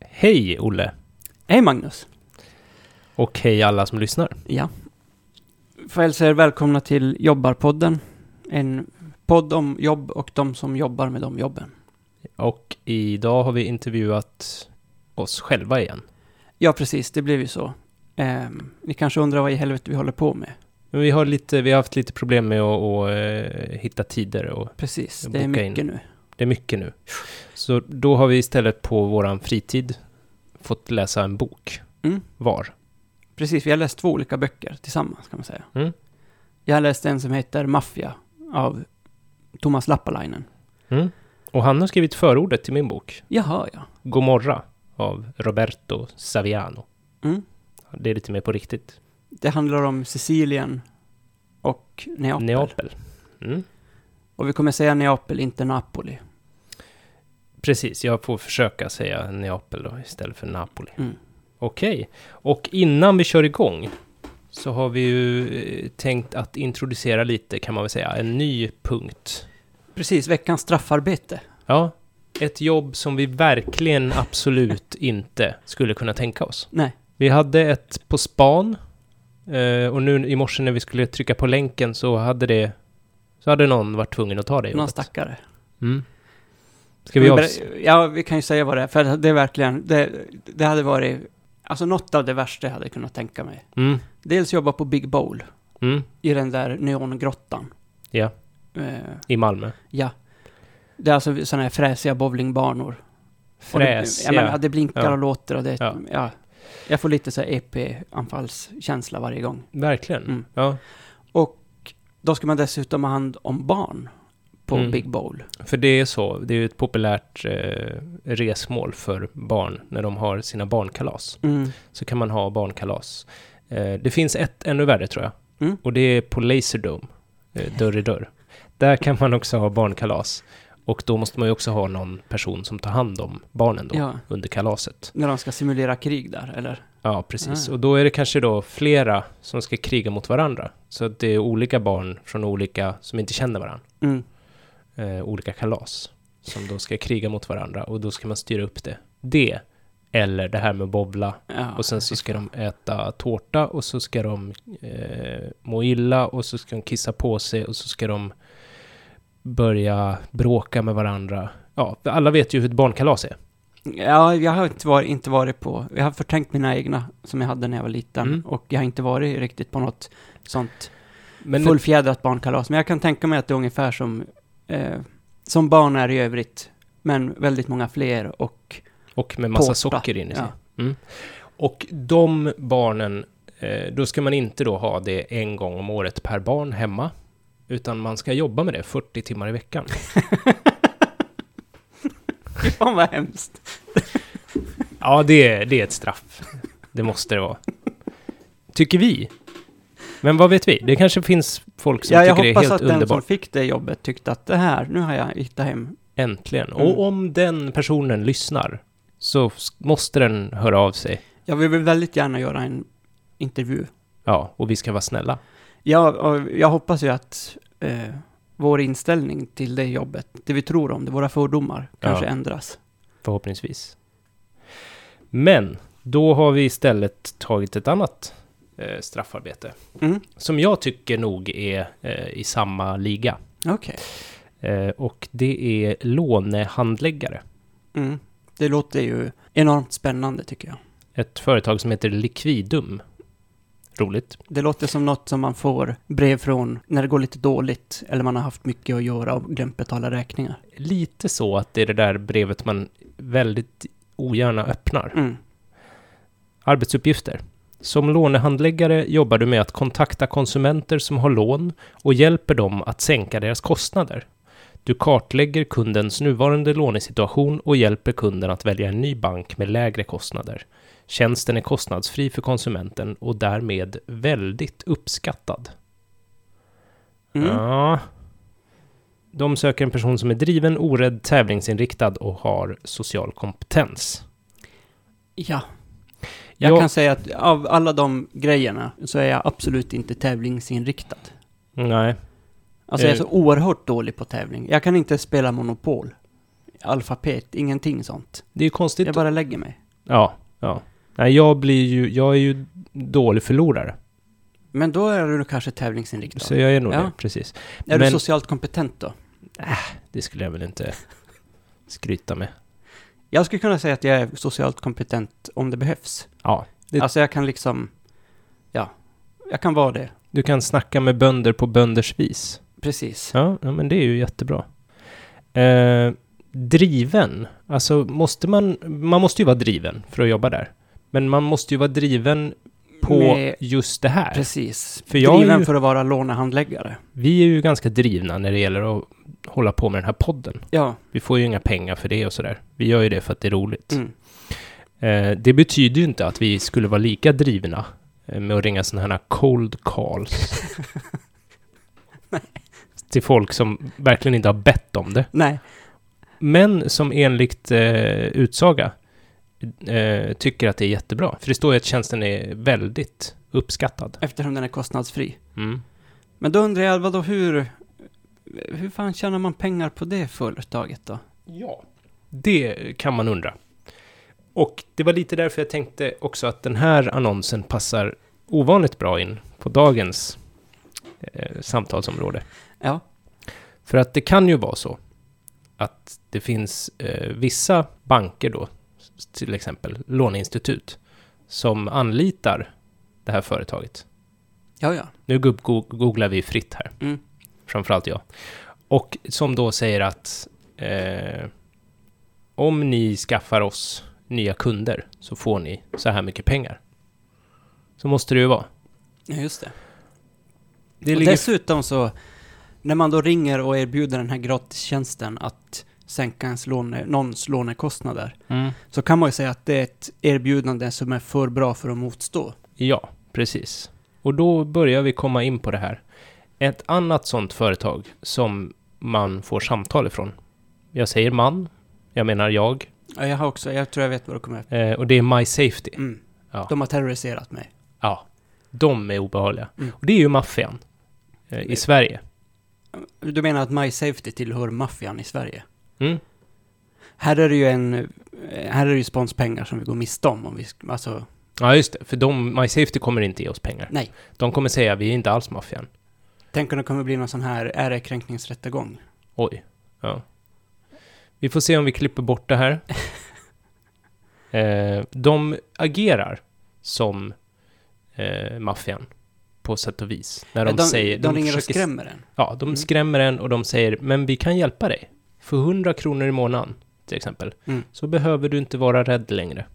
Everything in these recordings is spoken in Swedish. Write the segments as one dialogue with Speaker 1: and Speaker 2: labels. Speaker 1: Hej Olle!
Speaker 2: Hej Magnus!
Speaker 1: Och hej alla som lyssnar.
Speaker 2: Ja. Får hälsa er välkomna till Jobbarpodden. En podd om jobb och de som jobbar med de jobben.
Speaker 1: Och idag har vi intervjuat oss själva igen.
Speaker 2: Ja, precis. Det blev ju så. Ehm, ni kanske undrar vad i helvete vi håller på med.
Speaker 1: Men vi har, lite, vi har haft lite problem med att, att eh, hitta tider och
Speaker 2: Precis,
Speaker 1: Jag
Speaker 2: det är
Speaker 1: bokar
Speaker 2: mycket nu.
Speaker 1: det är mycket nu. Så då har vi istället på våran fritid fått läsa en bok
Speaker 2: Mm.
Speaker 1: var.
Speaker 2: Precis, vi har läst två olika böcker tillsammans kan man säga.
Speaker 1: Mm.
Speaker 2: Jag läste en som heter Maffia av Thomas Lappalainen.
Speaker 1: Mm. Och han har skrivit förordet till min bok,
Speaker 2: Jaha, ja.
Speaker 1: Gomorra av Roberto Saviano.
Speaker 2: Mm.
Speaker 1: Det är lite mer på riktigt.
Speaker 2: Det handlar om Sicilien och Neapel.
Speaker 1: Neapel. Mm.
Speaker 2: Och vi kommer säga Neapel, inte Napoli.
Speaker 1: Precis, jag får försöka säga Neapel då istället för Napoli.
Speaker 2: Mm.
Speaker 1: Okej, och innan vi kör igång så har vi ju eh, tänkt att introducera lite kan man väl säga, en ny punkt.
Speaker 2: Precis, veckans straffarbete.
Speaker 1: Ja, ett jobb som vi verkligen absolut inte skulle kunna tänka oss.
Speaker 2: Nej.
Speaker 1: Vi hade ett på span eh, och nu i morse när vi skulle trycka på länken så hade det så hade någon varit tvungen att ta det
Speaker 2: Någon
Speaker 1: jobbet.
Speaker 2: stackare.
Speaker 1: Mm. Ska vi avs...
Speaker 2: ber- Ja, vi kan ju säga vad det är, för det är verkligen, det, det hade varit, alltså något av det värsta jag hade kunnat tänka mig.
Speaker 1: Mm,
Speaker 2: Dels jobba på Big Bowl,
Speaker 1: mm,
Speaker 2: i den där neongrottan.
Speaker 1: Ja.
Speaker 2: Eh,
Speaker 1: i Malmö.
Speaker 2: ja. Det är alltså sådana här fräsiga bowlingbanor. Och
Speaker 1: Fräsiga.
Speaker 2: Det, ja, men, ja, det blinkar
Speaker 1: Ja.
Speaker 2: och låter och det,
Speaker 1: Ja.
Speaker 2: ja. Jag får lite så här EP-anfallskänsla varje gång.
Speaker 1: Verkligen.
Speaker 2: Mm.
Speaker 1: Ja.
Speaker 2: Då ska man dessutom ha hand om barn på
Speaker 1: Mm.
Speaker 2: Big Bowl.
Speaker 1: För det är så, det är ju ett populärt eh, resmål för barn när de har sina barnkalas.
Speaker 2: Mm.
Speaker 1: Så kan man ha barnkalas. Eh, det finns ett ännu värre tror jag.
Speaker 2: Mm.
Speaker 1: Och det är på Laserdome, eh, dörr i dörr. Där kan man också ha barnkalas. Och då måste man ju också ha någon person som tar hand om barnen då,
Speaker 2: Ja.
Speaker 1: under kalaset.
Speaker 2: När de ska simulera krig där, eller?
Speaker 1: Ja, precis.
Speaker 2: Ah.
Speaker 1: Och då är det kanske då flera som ska kriga mot varandra. Så att det är olika barn från olika, som inte känner varandra.
Speaker 2: Mm.
Speaker 1: eh, olika kalas som då ska kriga mot varandra och då ska man styra upp det. Det eller det här med bobla
Speaker 2: Ja.
Speaker 1: och sen så ska de äta tårta och så ska de eh, må illa och så ska de kissa på sig och så ska de börja bråka med varandra. Ja, alla vet ju hur ett barnkalas är.
Speaker 2: Ja, jag har inte varit, inte varit på, jag har förträngt mina egna som jag hade när jag var liten
Speaker 1: Mm.
Speaker 2: och jag har inte varit riktigt på något sånt
Speaker 1: Men
Speaker 2: fullfjädrat barnkalas. Men jag kan tänka mig att det är ungefär som, eh, som barn är i övrigt, men väldigt många fler och
Speaker 1: Och med massa
Speaker 2: Tårta.
Speaker 1: socker in i sig.
Speaker 2: Ja.
Speaker 1: Mm. Och de barnen, eh, då ska man inte då ha det en gång om året per barn hemma, utan man ska jobba med det 40 timmar i veckan.
Speaker 2: fan vad hemskt.
Speaker 1: Ja, det är, det är ett straff. Det måste det vara. Tycker vi. Men vad vet vi? Det kanske finns folk som
Speaker 2: Ja, jag
Speaker 1: tycker det är
Speaker 2: hoppas
Speaker 1: helt
Speaker 2: att den som
Speaker 1: underbart.
Speaker 2: fick det jobbet tyckte att det här, nu har jag hittat hem.
Speaker 1: Äntligen.
Speaker 2: Mm.
Speaker 1: Och om den personen lyssnar så s- måste den höra av sig.
Speaker 2: Jag vill väl väldigt gärna göra en intervju.
Speaker 1: Ja, och vi ska vara snälla.
Speaker 2: Ja, och jag hoppas ju att eh, vår inställning till det jobbet, det vi tror om det, våra fördomar, kanske
Speaker 1: Ja.
Speaker 2: ändras.
Speaker 1: Förhoppningsvis. Men då har vi istället tagit ett annat eh, straffarbete.
Speaker 2: Mm.
Speaker 1: Som jag tycker nog är eh, i samma liga.
Speaker 2: Okej.
Speaker 1: Eh, och det är lånehandläggare.
Speaker 2: Mm. Det låter ju enormt spännande tycker jag.
Speaker 1: Ett företag som heter Liquidum. Roligt.
Speaker 2: Det låter som något som man får brev från när det går lite dåligt eller man har haft mycket att göra och glömt betala räkningar.
Speaker 1: Lite så att det är det där brevet man väldigt ogärna öppnar.
Speaker 2: Mm.
Speaker 1: Arbetsuppgifter. Som lånehandläggare jobbar du med att kontakta konsumenter som har lån och hjälper dem att sänka deras kostnader. Du kartlägger kundens nuvarande lånesituation och hjälper kunden att välja en ny bank med lägre kostnader. Tjänsten är kostnadsfri för konsumenten och därmed väldigt uppskattad.
Speaker 2: Mm.
Speaker 1: Ja. De söker en person som är driven, orädd, tävlingsinriktad och har social kompetens.
Speaker 2: Ja. Jag
Speaker 1: Ja.
Speaker 2: kan säga att av alla de grejerna så är jag absolut inte tävlingsinriktad.
Speaker 1: Nej.
Speaker 2: Alltså jag är
Speaker 1: Eh.
Speaker 2: så oerhört dålig på tävling. Jag kan inte spela Monopol, Alfapet, ingenting sånt.
Speaker 1: Det är ju konstigt
Speaker 2: Jag bara lägger mig.
Speaker 1: Ja, ja. Nej, jag blir ju, jag är ju dålig förlorare.
Speaker 2: Men då är du nog kanske tävlingsinriktad.
Speaker 1: Så jag är nog
Speaker 2: Ja.
Speaker 1: det, precis.
Speaker 2: är du
Speaker 1: men-
Speaker 2: socialt kompetent då?
Speaker 1: Det skulle jag väl inte skryta med.
Speaker 2: Jag skulle kunna säga att jag är socialt kompetent om det behövs.
Speaker 1: Ja, Det-
Speaker 2: Alltså jag kan liksom, ja, jag kan vara det.
Speaker 1: du kan snacka med bönder på bönders vis.
Speaker 2: Precis.
Speaker 1: Ja, ja men det är ju jättebra. Eh, driven, alltså måste man, man måste ju vara driven för att jobba där. Men man måste ju vara driven på
Speaker 2: Med-
Speaker 1: just det här.
Speaker 2: Precis.
Speaker 1: För jag är
Speaker 2: Driven
Speaker 1: ju-
Speaker 2: för att vara lånehandläggare.
Speaker 1: Vi är ju ganska drivna när det gäller att hålla på med den här podden.
Speaker 2: Ja.
Speaker 1: Vi får ju inga pengar för det och sådär. Vi gör ju det för att det är roligt.
Speaker 2: Mm.
Speaker 1: Eh, det betyder ju inte att vi skulle vara lika drivna eh, med att ringa sådana här cold calls. till folk som verkligen inte har bett om det.
Speaker 2: Nej.
Speaker 1: Men som enligt eh, utsaga eh, tycker att det är jättebra. För det står ju att tjänsten är väldigt uppskattad.
Speaker 2: Eftersom den är kostnadsfri.
Speaker 1: Mm.
Speaker 2: Men då undrar jag, vadå hur... Hur fan tjänar man pengar på det företaget då?
Speaker 1: Ja. Det kan man undra. Och det var lite därför jag tänkte också att den här annonsen passar ovanligt bra in på dagens eh, samtalsområde.
Speaker 2: Ja.
Speaker 1: För att det kan ju vara så att det finns eh, vissa banker då, s- till exempel låneinstitut, som anlitar det här företaget.
Speaker 2: Ja, ja.
Speaker 1: Nu gubb- go- googlar vi fritt här.
Speaker 2: Mm.
Speaker 1: Framförallt jag. Och som då säger att eh, om ni skaffar oss nya kunder så får ni så här mycket pengar. Så måste det ju vara.
Speaker 2: Ja, just det.
Speaker 1: Det
Speaker 2: och
Speaker 1: ligger...
Speaker 2: dessutom så, när man då ringer och erbjuder den här gratistjänsten att sänka ens låne, någons lånekostnader,
Speaker 1: mm.
Speaker 2: så kan man ju säga att det är ett erbjudande som är för bra för att motstå.
Speaker 1: Ja, precis. Och då börjar vi komma in på det här. Ett annat sånt företag som man får samtal ifrån. Jag säger man, jag menar jag,
Speaker 2: Ja, jag har också, jag tror jag vet vad det kommer att...
Speaker 1: eh, och det är My Safety.
Speaker 2: Mm.
Speaker 1: Ja.
Speaker 2: De har terroriserat mig.
Speaker 1: Ja, de är obehagliga.
Speaker 2: Mm.
Speaker 1: Och det är ju maffian eh, i
Speaker 2: Mm.
Speaker 1: Sverige.
Speaker 2: Du menar att My Safety tillhör maffian i Sverige?
Speaker 1: Mm.
Speaker 2: Här är det ju en... eh, Här är det ju sponspengar som vi går miste om om vi... sk- Alltså...
Speaker 1: Ja, just det. För de, My Safety kommer inte ge oss pengar.
Speaker 2: Nej.
Speaker 1: De kommer säga vi är inte alls maffian.
Speaker 2: Tänk om det kommer bli någon sån här ärekränkningsrättegång.
Speaker 1: Oj. Ja. Vi får se om vi klipper bort det här. eh, de agerar som eh, maffian på sätt och vis. När de,
Speaker 2: de,
Speaker 1: säger...
Speaker 2: de, ringer
Speaker 1: försöker-
Speaker 2: och skrämmer en.
Speaker 1: Ja, de
Speaker 2: Mm.
Speaker 1: skrämmer en och de säger men vi kan hjälpa dig. För 100 kronor i månaden, till exempel,
Speaker 2: Mm.
Speaker 1: så behöver du inte vara rädd längre.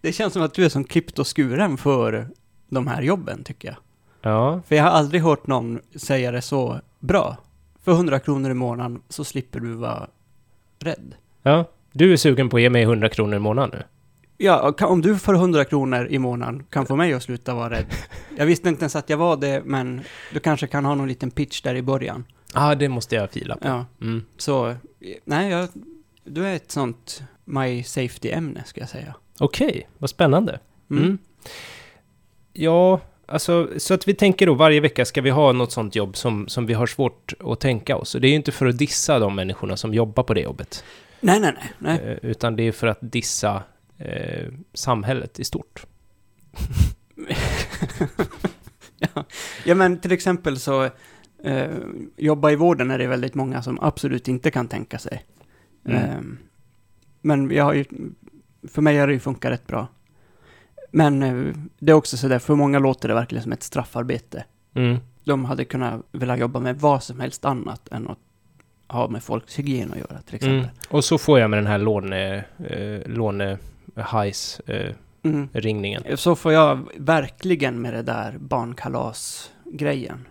Speaker 2: Det känns som att du är som klippt och skuren för de här jobben, tycker jag.
Speaker 1: Ja,
Speaker 2: För jag har aldrig hört någon säga det så bra. För 100 kronor i månaden så slipper du vara rädd.
Speaker 1: ja. Du är sugen på att ge mig 100 kronor i månaden nu?
Speaker 2: Ja, och kan- om du för 100 kronor i månaden kan få mig att sluta vara rädd. Jag visste inte ens att jag var det, men du kanske kan ha någon liten pitch där i början.
Speaker 1: Ja, ah, det måste jag fila på.
Speaker 2: Ja,
Speaker 1: Mm.
Speaker 2: så nej, jag, du är ett sånt my safety-ämne, ska jag säga.
Speaker 1: Okej, vad spännande.
Speaker 2: Mm.
Speaker 1: Mm. Ja, alltså, så att vi tänker då varje vecka ska vi ha något sånt jobb som, som vi har svårt att tänka oss. Och det är ju inte för att dissa de människorna som jobbar på det jobbet.
Speaker 2: Nej, nej, nej. nej.
Speaker 1: Eh, Utan det är för att dissa eh, samhället i stort.
Speaker 2: Ja, men till exempel så, eh, jobba i vården är det väldigt många som absolut inte kan tänka sig.
Speaker 1: Mm.
Speaker 2: Eh, men jag har ju, för mig har det ju funkat rätt bra. Men eh, det är också sådär, för många låter det verkligen som ett straffarbete.
Speaker 1: Mm.
Speaker 2: De hade kunnat vilja jobba med vad som helst annat än att ha med folks hygien att göra till
Speaker 1: Mm.
Speaker 2: exempel.
Speaker 1: Och så får jag med den här låne... Eh, låne hajs, eh,
Speaker 2: Mm.
Speaker 1: ringningen.
Speaker 2: Så får jag verkligen med det där barnkalas-grejen.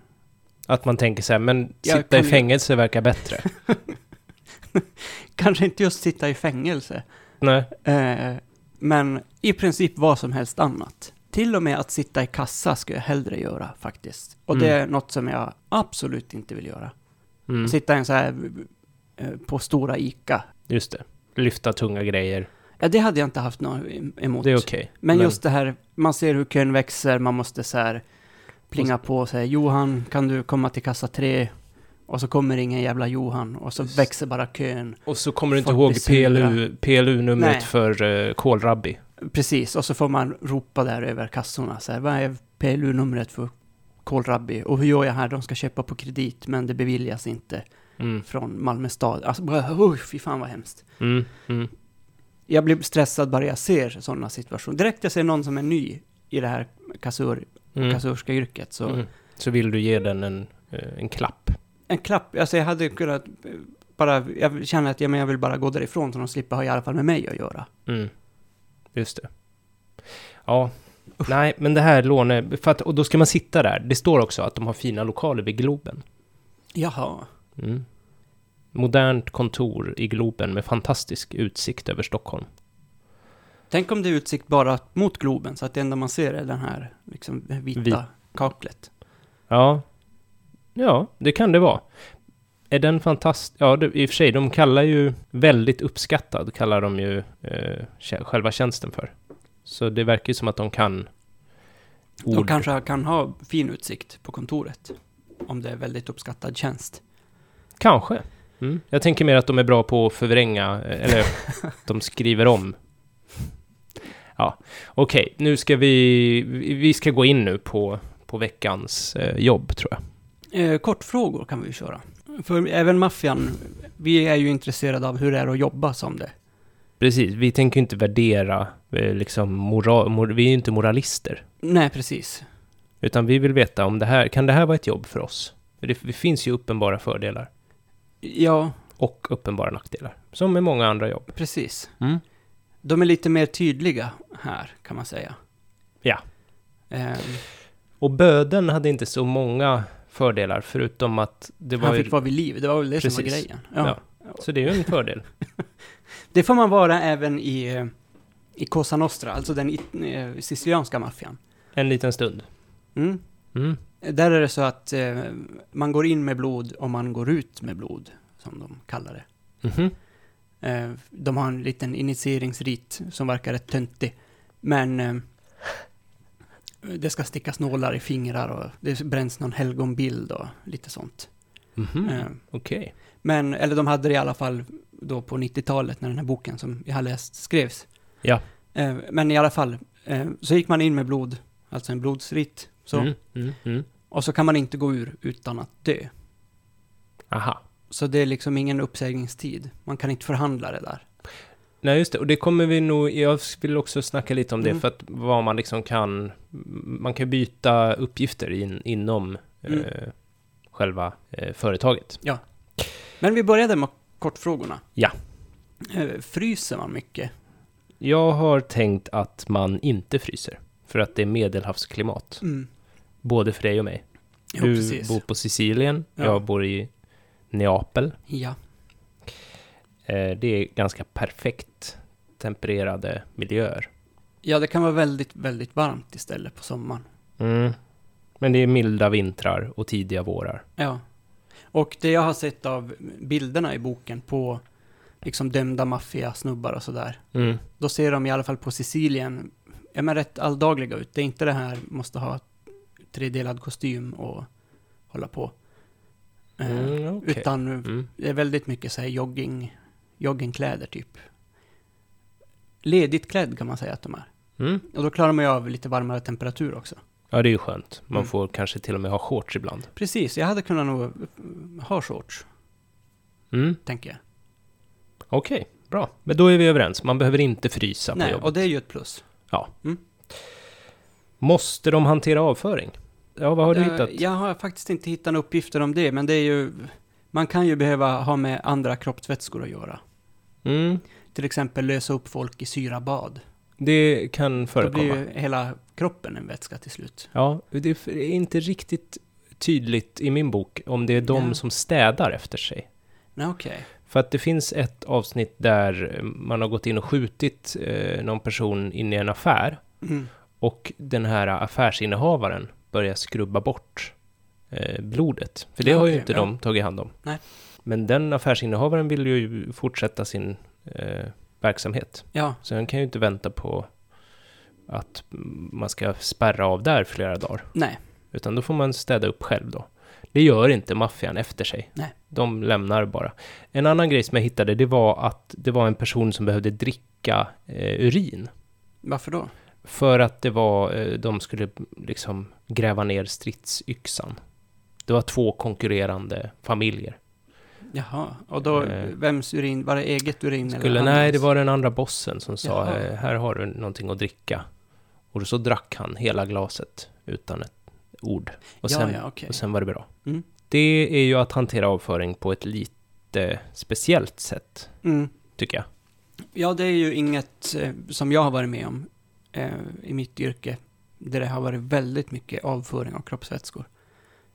Speaker 1: Att man tänker så här, men
Speaker 2: Jag
Speaker 1: sitta i
Speaker 2: kan ju-
Speaker 1: fängelse verkar bättre.
Speaker 2: Kanske inte just sitta i fängelse,
Speaker 1: Nej.
Speaker 2: Eh, men i princip vad som helst annat. Till och med att sitta i kassa skulle jag hellre göra faktiskt. Och det
Speaker 1: Mm.
Speaker 2: är något som jag absolut inte vill göra.
Speaker 1: Mm.
Speaker 2: Sitta i en så här eh, på stora ICA.
Speaker 1: Just det. Lyfta tunga grejer.
Speaker 2: Ja, det hade jag inte haft något em- emot.
Speaker 1: Det är okej.
Speaker 2: men, just det här, man ser hur kön växer, man måste så här plinga på och säga Johan, kan du komma till kassa tre? Och så kommer ingen jävla Johan och så
Speaker 1: Just.
Speaker 2: växer bara kön.
Speaker 1: Och så kommer du inte
Speaker 2: 47.
Speaker 1: ihåg PLU, PLU-numret
Speaker 2: Nej.
Speaker 1: för uh, kålrabbi.
Speaker 2: Precis, och så får man ropa där över kassorna. Så här, vad är PLU-numret för kålrabbi? Och hur gör jag här? De ska köpa på kredit, men det beviljas inte
Speaker 1: Mm.
Speaker 2: från Malmö stad. Alltså, bara, oh, fy fan vad hemskt.
Speaker 1: Mm. Mm.
Speaker 2: Jag blir stressad bara jag ser sådana situationer. Direkt jag ser någon som är ny i det här kassör,
Speaker 1: Mm.
Speaker 2: kassörska yrket Alltså, så
Speaker 1: Mm. Så vill du ge den en, eh, en klapp.
Speaker 2: en klapp. Alltså jag hade kunnat eh, bara, jag känner att ja, men jag vill bara gå därifrån så de slipper ha i alla fall med mig att göra.
Speaker 1: Mm. Just det. Ja. Nej, men det här låne... För att, och då ska man sitta där. Det står också att de har fina lokaler vid Globen.
Speaker 2: Jaha.
Speaker 1: Mm. Modernt kontor i Globen med fantastisk utsikt över Stockholm.
Speaker 2: Tänk om det är utsikt bara mot Globen så att det enda man ser är den här liksom, vita
Speaker 1: Vit.
Speaker 2: kaklet.
Speaker 1: Ja. Ja, det kan det vara. Är den fantastisk? Ja, det, i och för sig, de kallar ju väldigt uppskattad, kallar de ju eh, tjä- själva tjänsten för. Så det verkar ju som att de kan ord.
Speaker 2: De kanske kan ha fin utsikt på kontoret. Om det är väldigt uppskattad tjänst.
Speaker 1: Kanske. Mm. Jag tänker mer att de är bra på att förvränga, eh, eller de skriver om. Ja, okej, nu ska vi, vi vi ska gå in nu på, på veckans eh, jobb tror jag.
Speaker 2: Eh, kortfrågor kan vi ju köra. För även maffian, vi är ju intresserade av hur det är att jobba som det.
Speaker 1: Precis, vi tänker ju inte värdera, eh, liksom, mora, mor, vi är ju inte moralister.
Speaker 2: Nej, precis.
Speaker 1: Utan vi vill veta om det här, kan det här vara ett jobb för oss? För det, det finns ju uppenbara fördelar
Speaker 2: Ja,
Speaker 1: och uppenbara nackdelar, som med många andra jobb.
Speaker 2: precis.
Speaker 1: Mm.
Speaker 2: De är lite mer tydliga här, kan man säga.
Speaker 1: Ja.
Speaker 2: Ehm,
Speaker 1: Och böden hade inte så många fördelar, förutom att det var
Speaker 2: han
Speaker 1: ju-
Speaker 2: fick vara vid liv, det var väl det som var
Speaker 1: Precis.
Speaker 2: grejen. Ja.
Speaker 1: Ja. Så det är ju en fördel.
Speaker 2: Det får man vara även i, eh, i Cosa Nostra, alltså den it- eh, sicilianska maffian.
Speaker 1: En liten stund.
Speaker 2: Mm.
Speaker 1: Mm.
Speaker 2: Där är det så att eh, man går in med blod och man går ut med blod, som de kallar det.
Speaker 1: Mhm.
Speaker 2: Eh, de har en liten initieringsrit som verkar rätt töntig, men eh, det ska stickas nålar i fingrar och det bränns någon helgonbild och lite sånt.
Speaker 1: Mhm.
Speaker 2: Eh,
Speaker 1: Okej.
Speaker 2: Men, eller de hade det i alla fall då på 90-talet när den här boken som jag har läst skrevs.
Speaker 1: Ja.
Speaker 2: Eh, Men i alla fall, eh, så gick man in med blod, alltså en blodsritt. Så,
Speaker 1: Mm, mm, mm.
Speaker 2: Och så kan man inte gå ur utan att dö.
Speaker 1: Aha.
Speaker 2: Så det är liksom ingen uppsägningstid. Man kan inte förhandla det där.
Speaker 1: Nej, just det. Och det kommer vi nog... Jag vill också snacka lite om det,
Speaker 2: Mm.
Speaker 1: för att vad man liksom kan... Man kan byta uppgifter in, inom
Speaker 2: Mm.
Speaker 1: eh, själva eh, företaget.
Speaker 2: Men vi började med kortfrågorna.
Speaker 1: Ja.
Speaker 2: Eh, Fryser man mycket?
Speaker 1: Jag har tänkt att man inte fryser, för att det är medelhavsklimat.
Speaker 2: Mm.
Speaker 1: Både för dig och mig.
Speaker 2: Jo,
Speaker 1: du
Speaker 2: precis.
Speaker 1: bor på Sicilien,
Speaker 2: Ja.
Speaker 1: jag bor i Neapel.
Speaker 2: Ja.
Speaker 1: Eh, det är ganska perfekt tempererade miljöer.
Speaker 2: ja, det kan vara väldigt, väldigt varmt istället på sommaren.
Speaker 1: Mm. Men det är milda vintrar och tidiga vårar.
Speaker 2: Ja. Och det jag har sett av bilderna i boken på liksom dömda maffiasnubbar och sådär,
Speaker 1: Mm.
Speaker 2: då ser de i alla fall på Sicilien ja, men rätt alldagliga ut. Det är inte det här måste ha tredelad kostym och hålla på. Eh,
Speaker 1: Mm, okej.
Speaker 2: Utan
Speaker 1: Mm.
Speaker 2: det är väldigt mycket så här jogging, joggingkläder typ. Ledigt klädd kan man säga att de är.
Speaker 1: Mm.
Speaker 2: Och då klarar man ju av lite varmare temperatur också.
Speaker 1: Ja, det är ju skönt. Man
Speaker 2: Mm.
Speaker 1: får kanske till och med ha shorts ibland.
Speaker 2: Precis, jag hade kunnat nog eh, ha shorts,
Speaker 1: Mm.
Speaker 2: tänker jag.
Speaker 1: Okej, bra. Men då är vi överens. Man behöver inte frysa på
Speaker 2: Nej,
Speaker 1: jobbet.
Speaker 2: och det är ju ett plus.
Speaker 1: Måste de hantera avföring? Ja, vad har du
Speaker 2: Eh,
Speaker 1: hittat?
Speaker 2: Jag har faktiskt inte hittat några uppgifter om det, men det är ju... Man kan ju behöva ha med andra kroppsvätskor att göra.
Speaker 1: Mm.
Speaker 2: Till exempel lösa upp folk i syrabad.
Speaker 1: Det kan
Speaker 2: Då
Speaker 1: förekomma.
Speaker 2: blir ju hela kroppen en vätska till slut.
Speaker 1: Ja, det är det är inte riktigt tydligt i min bok om det är de
Speaker 2: Ja.
Speaker 1: som städar efter sig.
Speaker 2: Nej, okej.
Speaker 1: För att det finns ett avsnitt där man har gått in och skjutit eh, någon person in i en affär.
Speaker 2: Mm.
Speaker 1: Och den här affärsinnehavaren börjar skrubba bort eh, blodet. För det
Speaker 2: Ja,
Speaker 1: har ju
Speaker 2: okej,
Speaker 1: inte
Speaker 2: ja.
Speaker 1: de tagit hand om.
Speaker 2: Nej.
Speaker 1: Men den affärsinnehavaren vill ju fortsätta sin eh, verksamhet.
Speaker 2: Ja,
Speaker 1: Så han kan ju inte vänta på att mm, man ska spärra av där flera dagar.
Speaker 2: nej.
Speaker 1: Utan då får man städa upp själv då. Det gör inte maffian efter sig.
Speaker 2: Nej.
Speaker 1: De lämnar bara. En annan grej som jag hittade, det var att det var en person som behövde dricka eh, urin.
Speaker 2: Varför då?
Speaker 1: För att det var, eh, de skulle liksom gräva ner stridsyxan. Det var två konkurrerande familjer.
Speaker 2: Jaha, och då,
Speaker 1: Eh.
Speaker 2: vems urin? Var det eget urin
Speaker 1: Skulle,
Speaker 2: eller
Speaker 1: nej,
Speaker 2: andras?
Speaker 1: det var den andra bossen som sa
Speaker 2: Jaha.
Speaker 1: "Eh, här har du någonting att dricka. Och så drack han hela glaset utan ett ord. Och sen,
Speaker 2: ja, ja, okej.
Speaker 1: och sen var det bra.
Speaker 2: Mm.
Speaker 1: Det är ju att hantera avföring på ett lite speciellt sätt,
Speaker 2: Mm.
Speaker 1: tycker jag.
Speaker 2: Ja, det är ju inget eh, som jag har varit med om eh, i mitt yrke. Där det har varit väldigt mycket avföring av kroppsvätskor.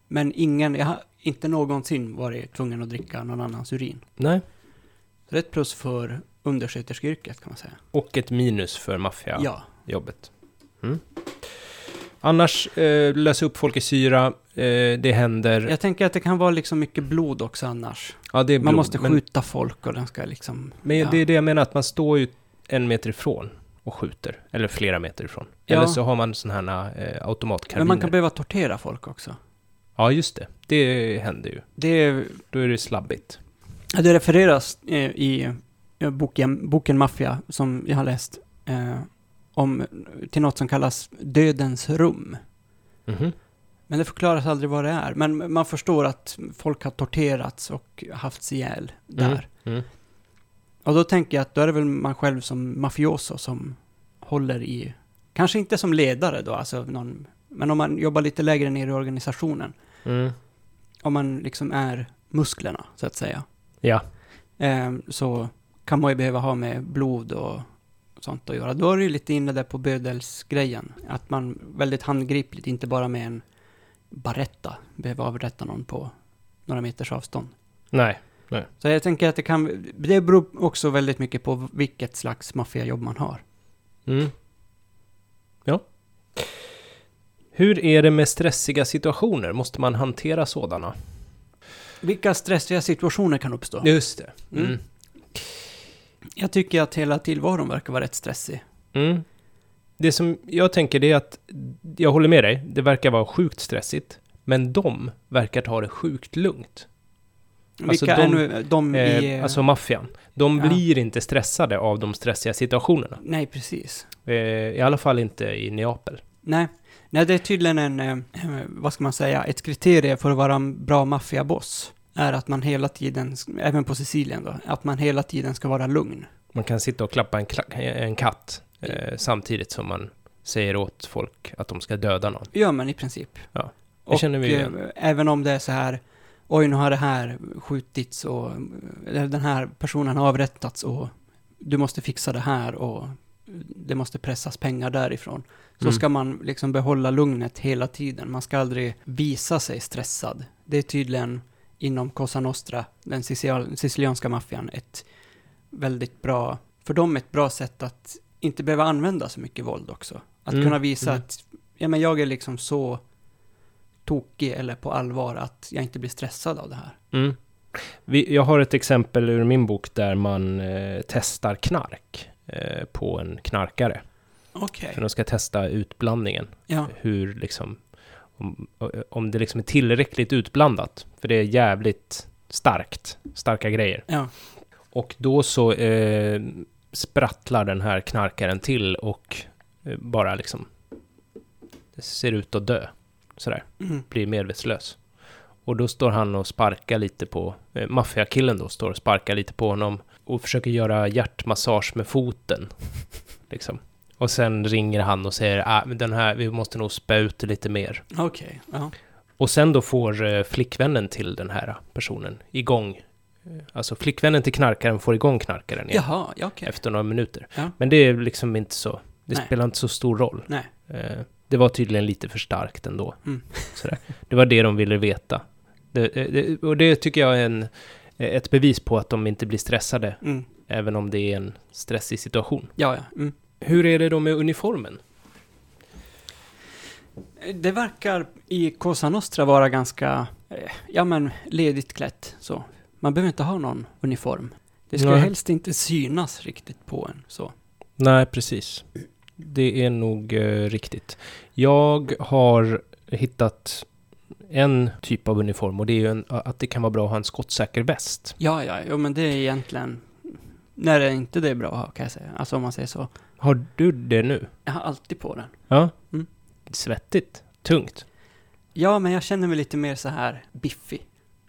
Speaker 2: Men ingen, jag har inte någonsin varit tvungen att dricka någon annans urin.
Speaker 1: Nej.
Speaker 2: Så det är ett plus för undersköterskeyrket kan man säga.
Speaker 1: Och ett minus för
Speaker 2: Ja.
Speaker 1: maffiajobbet. Mm. Annars, eh, lösa upp folk i syra, eh, det händer...
Speaker 2: Jag tänker att det kan vara liksom mycket blod också annars.
Speaker 1: ja, det är
Speaker 2: man
Speaker 1: blod,
Speaker 2: måste
Speaker 1: men,
Speaker 2: skjuta folk och den ska liksom...
Speaker 1: men
Speaker 2: ja.
Speaker 1: det är det jag menar, att man står ju en meter ifrån och skjuter. Eller flera meter ifrån.
Speaker 2: Ja.
Speaker 1: Eller så har man sådana här eh, automatkarbiner.
Speaker 2: Men man kan behöva tortera folk också.
Speaker 1: Ja, just det. Det händer ju.
Speaker 2: Det är
Speaker 1: Då är det slabbigt.
Speaker 2: Ja, Det refereras eh, i eh, boken, boken Maffia, som jag har läst, eh, om, till något som kallas Dödens rum.
Speaker 1: Mhm.
Speaker 2: Men det förklaras aldrig vad det är. Men man förstår att folk har torterats och haft ihjäl där.
Speaker 1: Mm.
Speaker 2: Och då tänker jag att då är det väl man själv som mafioso som håller i, kanske inte som ledare då, alltså någon, men om man jobbar lite lägre ner i organisationen,
Speaker 1: Mm.
Speaker 2: om man liksom är musklerna, så att säga.
Speaker 1: Ja.
Speaker 2: eh, så kan man ju behöva ha med blod och sånt att göra. Då är det ju lite inne där på bödelsgrejen, att man väldigt handgripligt, inte bara med en baretta, behöver avrätta någon på några meters avstånd.
Speaker 1: Nej.
Speaker 2: Så jag tänker att det kan, det beror också väldigt mycket på vilket slags maffiajobb man har.
Speaker 1: Mm. Ja. Hur är det med stressiga situationer? Måste man hantera sådana?
Speaker 2: Vilka stressiga situationer kan uppstå?
Speaker 1: Just det.
Speaker 2: Mm.
Speaker 1: Mm.
Speaker 2: Jag tycker att hela tillvaron verkar vara rätt stressig.
Speaker 1: Mm. Det som jag tänker det är att jag håller med dig, det verkar vara sjukt stressigt, men de verkar ta det sjukt lugnt. Alltså,
Speaker 2: Vilka
Speaker 1: de-
Speaker 2: är nu de i...
Speaker 1: Eh, alltså maffian. De
Speaker 2: Mm, Ja.
Speaker 1: blir inte stressade av de stressiga situationerna.
Speaker 2: nej, precis.
Speaker 1: Eh, I alla fall inte i Neapel.
Speaker 2: Nej. Nej, det är tydligen en, eh, vad ska man säga, ett kriterie för att vara en bra maffiaboss är att man hela tiden, även på Sicilien då, att man hela tiden ska vara lugn.
Speaker 1: Man kan sitta och klappa en, kla- en katt eh, samtidigt som man säger åt folk att de ska döda någon.
Speaker 2: Gör man i princip.
Speaker 1: Ja, det
Speaker 2: och,
Speaker 1: känner vi igen.
Speaker 2: eh, även om det är så här, oj nu har det här skjutits och eh, eller den här personen har avrättats och du måste fixa det här och det måste pressas pengar därifrån. Så
Speaker 1: Mm.
Speaker 2: ska man liksom behålla lugnet hela tiden. Man ska aldrig visa sig stressad. Det är tydligen inom Cosa Nostra, den sicil- sicilianska maffian, ett väldigt bra, för dem ett bra sätt att inte behöva använda så mycket våld också. Att
Speaker 1: Mm,
Speaker 2: kunna visa
Speaker 1: mm.
Speaker 2: att ja, men jag är liksom så tokig eller på allvar att jag inte blir stressad av det här.
Speaker 1: Mm. Vi, jag har ett exempel ur min bok där man eh, testar knark eh, på en knarkare.
Speaker 2: Okej.
Speaker 1: För de ska testa utblandningen.
Speaker 2: Ja.
Speaker 1: Hur liksom, om, om det liksom är tillräckligt utblandat. För det är jävligt starkt, starka grejer.
Speaker 2: Ja.
Speaker 1: Och då så eh, sprattlar den här knarkaren till och eh, bara liksom ser ut att dö. Sådär
Speaker 2: Mm.
Speaker 1: blir medvetslös. Och då står han och sparkar lite på, eh, maffiakillen då står och sparkar lite på honom och försöker göra hjärtmassage med foten. liksom. Och sen ringer han och säger ah, men den här, vi måste nog spä ut det lite mer.
Speaker 2: Okej. Ja.
Speaker 1: Och sen då får eh, flickvännen till den här personen igång, eh, alltså flickvännen till knarkaren får igång knarkaren igen
Speaker 2: Jaha, ja, okej.
Speaker 1: efter några minuter.
Speaker 2: Ja.
Speaker 1: Men det är liksom inte så, det
Speaker 2: Nej.
Speaker 1: spelar inte så stor roll.
Speaker 2: Nej.
Speaker 1: Eh, Det var tydligen lite för starkt ändå.
Speaker 2: Mm.
Speaker 1: Sådär. Det var det de ville veta. Det, eh, det, och det tycker jag är en, eh, ett bevis på att de inte blir stressade,
Speaker 2: Mm.
Speaker 1: även om det är en stressig situation.
Speaker 2: Ja, ja. Mm.
Speaker 1: Hur är det då med uniformen?
Speaker 2: Det verkar i Cosa Nostra vara ganska, eh, ja men, ledigt klätt så. Man behöver inte ha någon uniform. Det ska
Speaker 1: Nej.
Speaker 2: helst inte synas riktigt på en så.
Speaker 1: Nej, precis. Det är nog eh, riktigt. Jag har hittat en typ av uniform och det är ju en, att det kan vara bra att ha en skottsäker väst.
Speaker 2: Ja, ja, jo, men det är egentligen... När det inte det är bra att ha, kan jag säga. Alltså om man säger så.
Speaker 1: Har du det nu?
Speaker 2: Jag har alltid på den.
Speaker 1: Ja.
Speaker 2: Mm.
Speaker 1: Svettigt. Tungt.
Speaker 2: Ja, men jag känner mig lite mer så här biffig.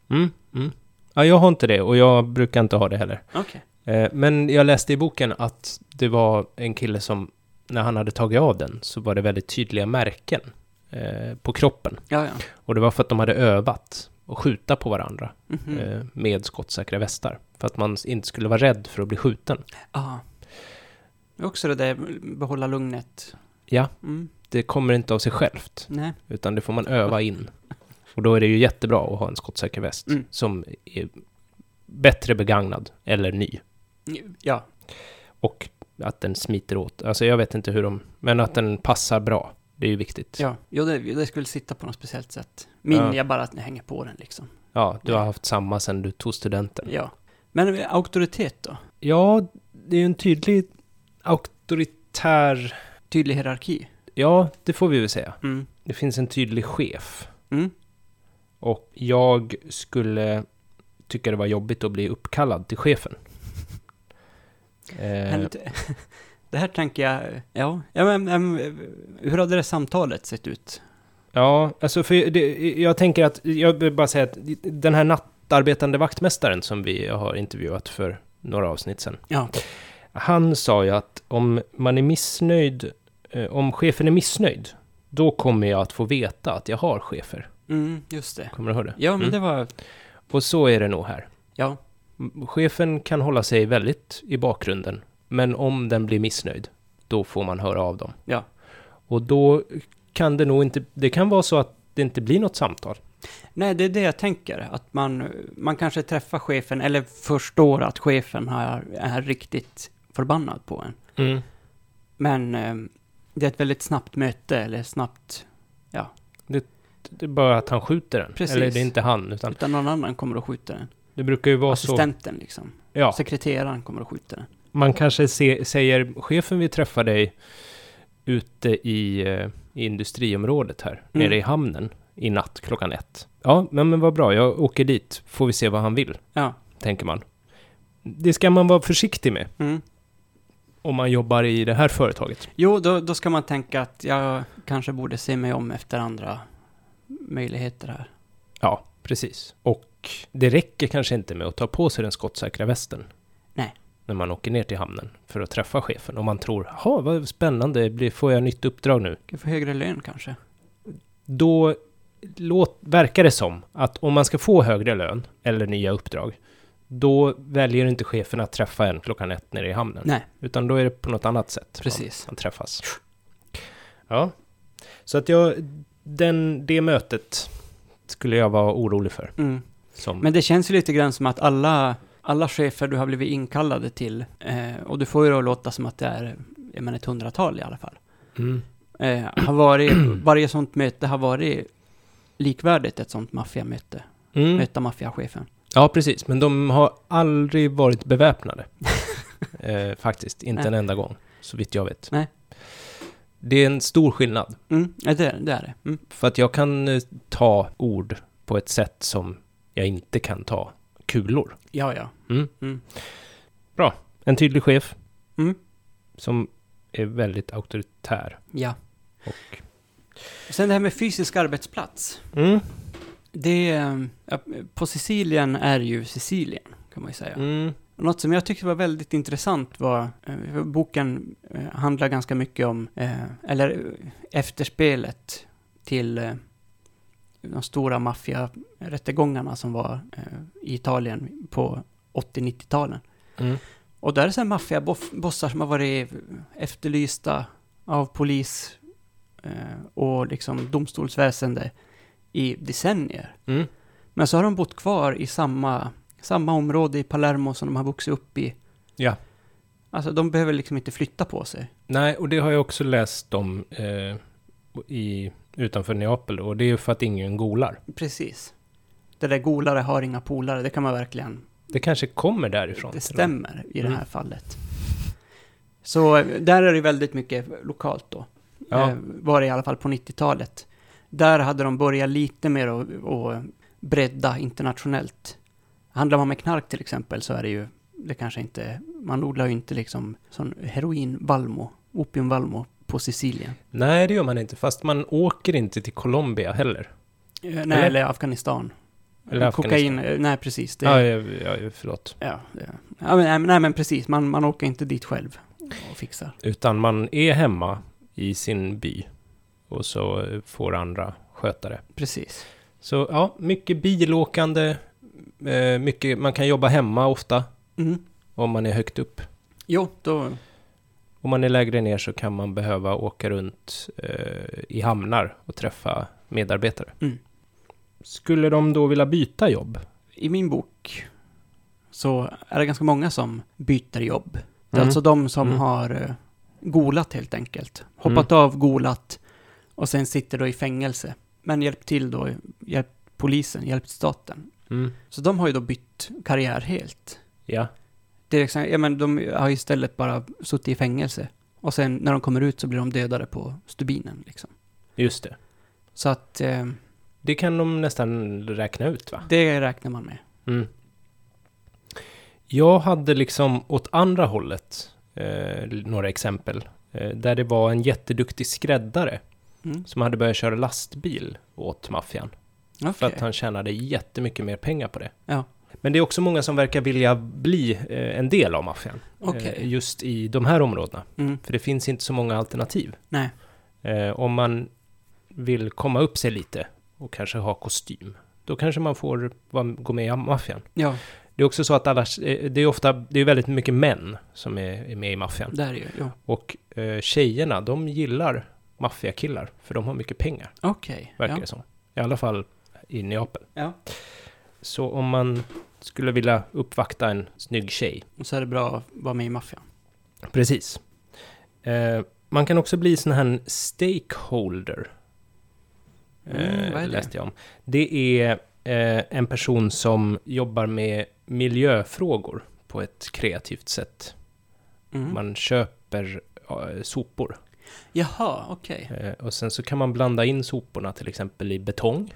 Speaker 1: Mm. Mm. Ja, jag har inte det och jag brukar inte ha det heller.
Speaker 2: Okej.
Speaker 1: Eh, Men jag läste i boken att det var en kille som, när han hade tagit av den, så var det väldigt tydliga märken eh, på kroppen.
Speaker 2: Ja, ja.
Speaker 1: Och det var för att de hade övat att skjuta på varandra
Speaker 2: Mhm.
Speaker 1: eh, med skottsäkra västar. För att man inte skulle vara rädd för att bli skjuten.
Speaker 2: Ja. Det är Också det där behålla lugnet.
Speaker 1: Ja.
Speaker 2: Mm.
Speaker 1: Det kommer inte av sig självt,
Speaker 2: Nej.
Speaker 1: utan det får man öva in. Och då är det ju jättebra att ha en skottsäker väst
Speaker 2: Mm.
Speaker 1: som är bättre begagnad eller ny.
Speaker 2: Ja.
Speaker 1: Och att den smiter åt. Alltså jag vet inte hur de... Men att den passar bra. Det är ju viktigt.
Speaker 2: Ja. Jo, det, det skulle sitta på något speciellt sätt. Min,
Speaker 1: Ja.
Speaker 2: jag bara hänger på den liksom.
Speaker 1: Ja, du har haft samma sedan du tog studenten.
Speaker 2: Ja. Men eh, auktoritet då?
Speaker 1: Ja, det är ju en tydlig auktoritär...
Speaker 2: Tydlig hierarki?
Speaker 1: Ja, det får vi väl säga.
Speaker 2: Mm.
Speaker 1: Det finns en tydlig chef.
Speaker 2: Mm.
Speaker 1: Eh. Och jag skulle tycka det var jobbigt att bli uppkallad till chefen.
Speaker 2: Men
Speaker 1: Eh,
Speaker 2: det- Det här tänker jag, eh, ja, ja men, men, hur hade det samtalet sett ut?
Speaker 1: ja, alltså för det, jag tänker att, jag vill bara säga att den här nattarbetande vaktmästaren som vi har intervjuat för några avsnitt sedan.
Speaker 2: Ja,
Speaker 1: Han sa ju att om man är missnöjd, eh, om chefen är missnöjd, då kommer jag att få veta att jag har chefer.
Speaker 2: mm, just det.
Speaker 1: Kommer du ihåg det?
Speaker 2: Ja, men
Speaker 1: Mm.
Speaker 2: det var,
Speaker 1: Och så är det nog här.
Speaker 2: ja,
Speaker 1: M- Chefen kan hålla sig väldigt i bakgrunden, men om den blir missnöjd, då får man höra av dem.
Speaker 2: Ja.
Speaker 1: Och då kan det nog inte, det kan vara så att det inte blir något samtal.
Speaker 2: nej det är det jag tänker, att man, man kanske träffar chefen eller förstår att chefen har, är riktigt förbannad på en. Men eh, det är ett väldigt snabbt möte eller snabbt,
Speaker 1: Det är bara att han skjuter den.
Speaker 2: Precis.
Speaker 1: Eller det är inte han, utan
Speaker 2: utan någon annan kommer att skjuta den.
Speaker 1: det brukar ju vara så.
Speaker 2: Assistenten liksom,
Speaker 1: Ja.
Speaker 2: sekreteraren kommer att skjuta den.
Speaker 1: Man kanske se, säger chefen vi träffar dig ute i, eh, i industriområdet här, nere i hamnen i natt klockan ett. Ja, men, men vad bra, jag åker dit, får vi se vad han vill,
Speaker 2: Ja,
Speaker 1: tänker man. Det ska man vara försiktig med
Speaker 2: mm.
Speaker 1: om man jobbar i det här företaget.
Speaker 2: Jo, då, då ska man tänka att jag kanske borde se mig om efter andra möjligheter här.
Speaker 1: Ja, precis. Och det räcker kanske inte med att ta på sig den skottsäkra västen.
Speaker 2: Nej.
Speaker 1: När man åker ner till hamnen för att träffa chefen. Om man tror, jaha, vad spännande, blir- får jag nytt uppdrag nu?
Speaker 2: Kan få högre lön kanske.
Speaker 1: då låt, verkar det som att om man ska få högre lön eller nya uppdrag, då väljer inte chefen att träffa en klockan ett nere i hamnen.
Speaker 2: Nej.
Speaker 1: Utan då är det på något annat sätt
Speaker 2: Precis.
Speaker 1: Man, man träffas. Ja. Så att jag, den, det mötet skulle jag vara orolig för.
Speaker 2: Mm.
Speaker 1: Som,
Speaker 2: Men det känns ju lite grann som att alla, alla chefer du har blivit inkallade till, eh, och du får ju då låta som att det är jag menar, ett hundratal i alla fall,
Speaker 1: mm,
Speaker 2: eh, har varit, varje sånt möte har varit likvärdigt ett sånt maffiamöte,
Speaker 1: mm.
Speaker 2: möta maffiachefen.
Speaker 1: Ja, precis. Men de har aldrig varit beväpnade. eh, faktiskt, inte
Speaker 2: Nej.
Speaker 1: en enda gång. Så vitt jag vet.
Speaker 2: Nej.
Speaker 1: Det är en stor skillnad.
Speaker 2: Mm, ja, det, det är det. Mm.
Speaker 1: För att jag kan eh, ta ord på ett sätt som jag inte kan ta kulor.
Speaker 2: Ja, ja.
Speaker 1: En tydlig chef
Speaker 2: Mm.
Speaker 1: som är väldigt auktoritär.
Speaker 2: Ja.
Speaker 1: Och-
Speaker 2: Sen det här med fysisk arbetsplats.
Speaker 1: Mm.
Speaker 2: Det, eh, ja, på Sicilien är ju Sicilien, kan man ju säga.
Speaker 1: Mm.
Speaker 2: Något som jag tyckte var väldigt intressant var, eh, boken eh, handlar ganska mycket om, eh, eller eh, efterspelet till eh, de stora maffiarättegångarna som var eh, i Italien på 80-90-talen.
Speaker 1: Mm.
Speaker 2: Och där är det maffiabossar som har varit efterlysta av polis eh, och liksom domstolsväsende i decennier.
Speaker 1: Mm.
Speaker 2: Men så har de bott kvar i samma, samma område i Palermo som de har vuxit upp i.
Speaker 1: Ja.
Speaker 2: Alltså de behöver liksom inte flytta på sig.
Speaker 1: Nej, och det har jag också läst om eh, i, utanför Neapel då, och det är ju för att ingen golar.
Speaker 2: Precis. Det där golare har inga polare, det kan man verkligen...
Speaker 1: Det kanske kommer därifrån.
Speaker 2: Det
Speaker 1: till och med.
Speaker 2: stämmer i det här
Speaker 1: Mm.
Speaker 2: fallet. Så eh, där är det väldigt mycket lokalt då.
Speaker 1: Ja.
Speaker 2: Eh, var det i alla fall på 90-talet. Där hade de börjat lite mer att att bredda internationellt. Handlar man med knark till exempel så är det ju, det kanske inte, man odlar ju inte liksom sån heroin valmo, opium valmo på Sicilien.
Speaker 1: Nej, det gör man inte. Fast man åker inte till Colombia heller.
Speaker 2: Eh, Nej, eller, Afghanistan.
Speaker 1: Eller
Speaker 2: Kokain, eh, nej precis. Det,
Speaker 1: Ja,
Speaker 2: ja.
Speaker 1: ja, ja, förlåt.
Speaker 2: det- Ja, men, nej, men- nej men precis, man, man åker inte dit själv och fixar.
Speaker 1: Utan man är hemma i sin by. Och så eh, får andra sköta det.
Speaker 2: Precis.
Speaker 1: Så ja, mycket bilåkande. eh, Mycket, man kan jobba hemma ofta
Speaker 2: Mm.
Speaker 1: om man är högt upp.
Speaker 2: Jo, då,
Speaker 1: Om man är lägre ner så kan man behöva åka runt eh, i hamnar och träffa medarbetare.
Speaker 2: Mm.
Speaker 1: Skulle de då vilja byta jobb?
Speaker 2: i min bok så är det ganska många som byter jobb. Det är
Speaker 1: Mm.
Speaker 2: alltså de som
Speaker 1: Mm.
Speaker 2: har eh, golat helt enkelt. Hoppat av, golat och sen sitter då i fängelse. Men hjälpt till då, hjälpt polisen, hjälpt staten.
Speaker 1: Mm.
Speaker 2: Så de har ju då bytt karriär helt.
Speaker 1: Ja.
Speaker 2: Det är liksom, ja, men de har ju istället bara suttit i fängelse. Och sen när de kommer ut så blir de dödade på stubinen. Liksom.
Speaker 1: Just det.
Speaker 2: Så att eh,
Speaker 1: Det kan de nästan räkna ut va?
Speaker 2: det räknar man med.
Speaker 1: Mm. Jag hade liksom åt andra hållet eh, några exempel. Eh, där det var en jätteduktig skräddare
Speaker 2: Mm.
Speaker 1: som hade börjat köra lastbil åt maffian. För
Speaker 2: Okej.
Speaker 1: att han tjänade jättemycket mer pengar på det.
Speaker 2: Ja.
Speaker 1: Men det är också många som verkar vilja bli eh, en del av maffian.
Speaker 2: Okej.
Speaker 1: Eh, just i de här områdena.
Speaker 2: Mm.
Speaker 1: För det finns inte så många alternativ.
Speaker 2: Nej.
Speaker 1: Eh, om man vill komma upp sig lite och kanske ha kostym. Då kanske man får vara- gå med i maffian.
Speaker 2: Ja,
Speaker 1: Det är också så att annars, eh, det är ofta, det är väldigt mycket män som är, är med i maffian.
Speaker 2: där är ju. Ja.
Speaker 1: Och eh, tjejerna, de gillar maffiakillar, för de har mycket pengar,
Speaker 2: Okej.
Speaker 1: verkar
Speaker 2: Ja.
Speaker 1: det som. I alla fall i Neapel.
Speaker 2: Ja.
Speaker 1: Så om man skulle vilja uppvakta en snygg tjej.
Speaker 2: Och så är det bra att vara med i maffian.
Speaker 1: Precis. Eh, man kan också bli sån här stakeholder. Eh,
Speaker 2: Mm, vad är det?
Speaker 1: Läste jag om. Det är eh, en person som jobbar med miljöfrågor på ett kreativt sätt.
Speaker 2: Mm.
Speaker 1: Man köper eh, sopor.
Speaker 2: Jaha, okej.
Speaker 1: Eh, och sen så kan man blanda in soporna till exempel i betong.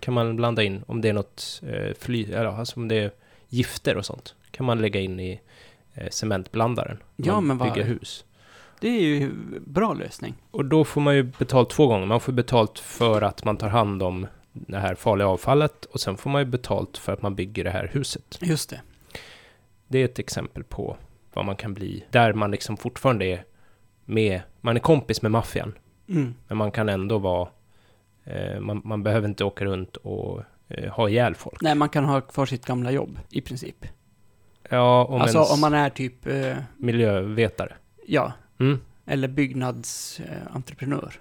Speaker 1: Kan man blanda in om det är något eh, fly, eller, alltså om det är gifter och sånt. Kan man lägga in i eh, cementblandaren. när
Speaker 2: Ja,
Speaker 1: man
Speaker 2: men vad-
Speaker 1: bygger hus.
Speaker 2: Det är ju bra lösning.
Speaker 1: Och då får man ju betalt två gånger. Man får betalt för att man tar hand om det här farliga avfallet och sen får man ju betalt för att man bygger det här huset.
Speaker 2: Just det.
Speaker 1: Det är ett exempel på vad man kan bli, där man liksom fortfarande är med, man är kompis med maffian.
Speaker 2: Mm.
Speaker 1: Men man kan ändå vara... Eh, man, man behöver inte åka runt och eh, ha ihjäl folk.
Speaker 2: Nej, man kan ha kvar sitt gamla jobb i princip.
Speaker 1: Ja, om
Speaker 2: alltså
Speaker 1: ens
Speaker 2: om man är typ, eh,
Speaker 1: miljövetare.
Speaker 2: ja,
Speaker 1: Mm,
Speaker 2: eller byggnadsentreprenör.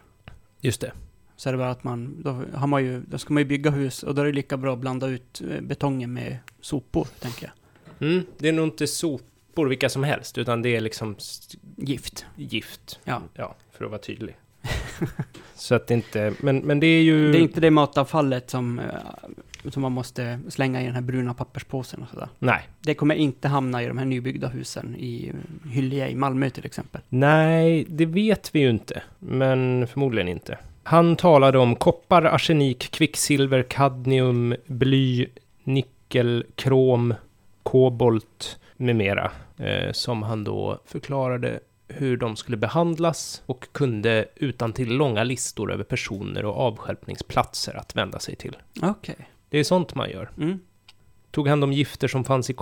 Speaker 1: just det.
Speaker 2: Så är det bara att man, då har man ju, då ska man ju bygga hus och då är det lika bra att blanda ut eh, betongen med sopor, tänker jag.
Speaker 1: Mm, det är nog inte sopor vilka som helst, utan det är liksom s-
Speaker 2: Gift.
Speaker 1: gift.
Speaker 2: Ja.
Speaker 1: Ja, för att vara tydlig. Så att det inte... Men, men det är ju...
Speaker 2: Det är inte det matavfallet som, eh, som man måste slänga i den här bruna papperspåsen och sådär.
Speaker 1: Nej.
Speaker 2: Det kommer inte hamna i de här nybyggda husen i eh, Hyllie i Malmö till exempel.
Speaker 1: Nej, det vet vi ju inte. Men förmodligen inte. Han talade om koppar, arsenik, kvicksilver, kadmium, bly, nickel, krom, kobolt med mera. Eh, som han då förklarade hur de skulle behandlas och kunde utan till långa listor över personer och avskärpningsplatser att vända sig till.
Speaker 2: Okej.
Speaker 1: Det är sånt man gör.
Speaker 2: Mm.
Speaker 1: Tog hand om gifter som fanns i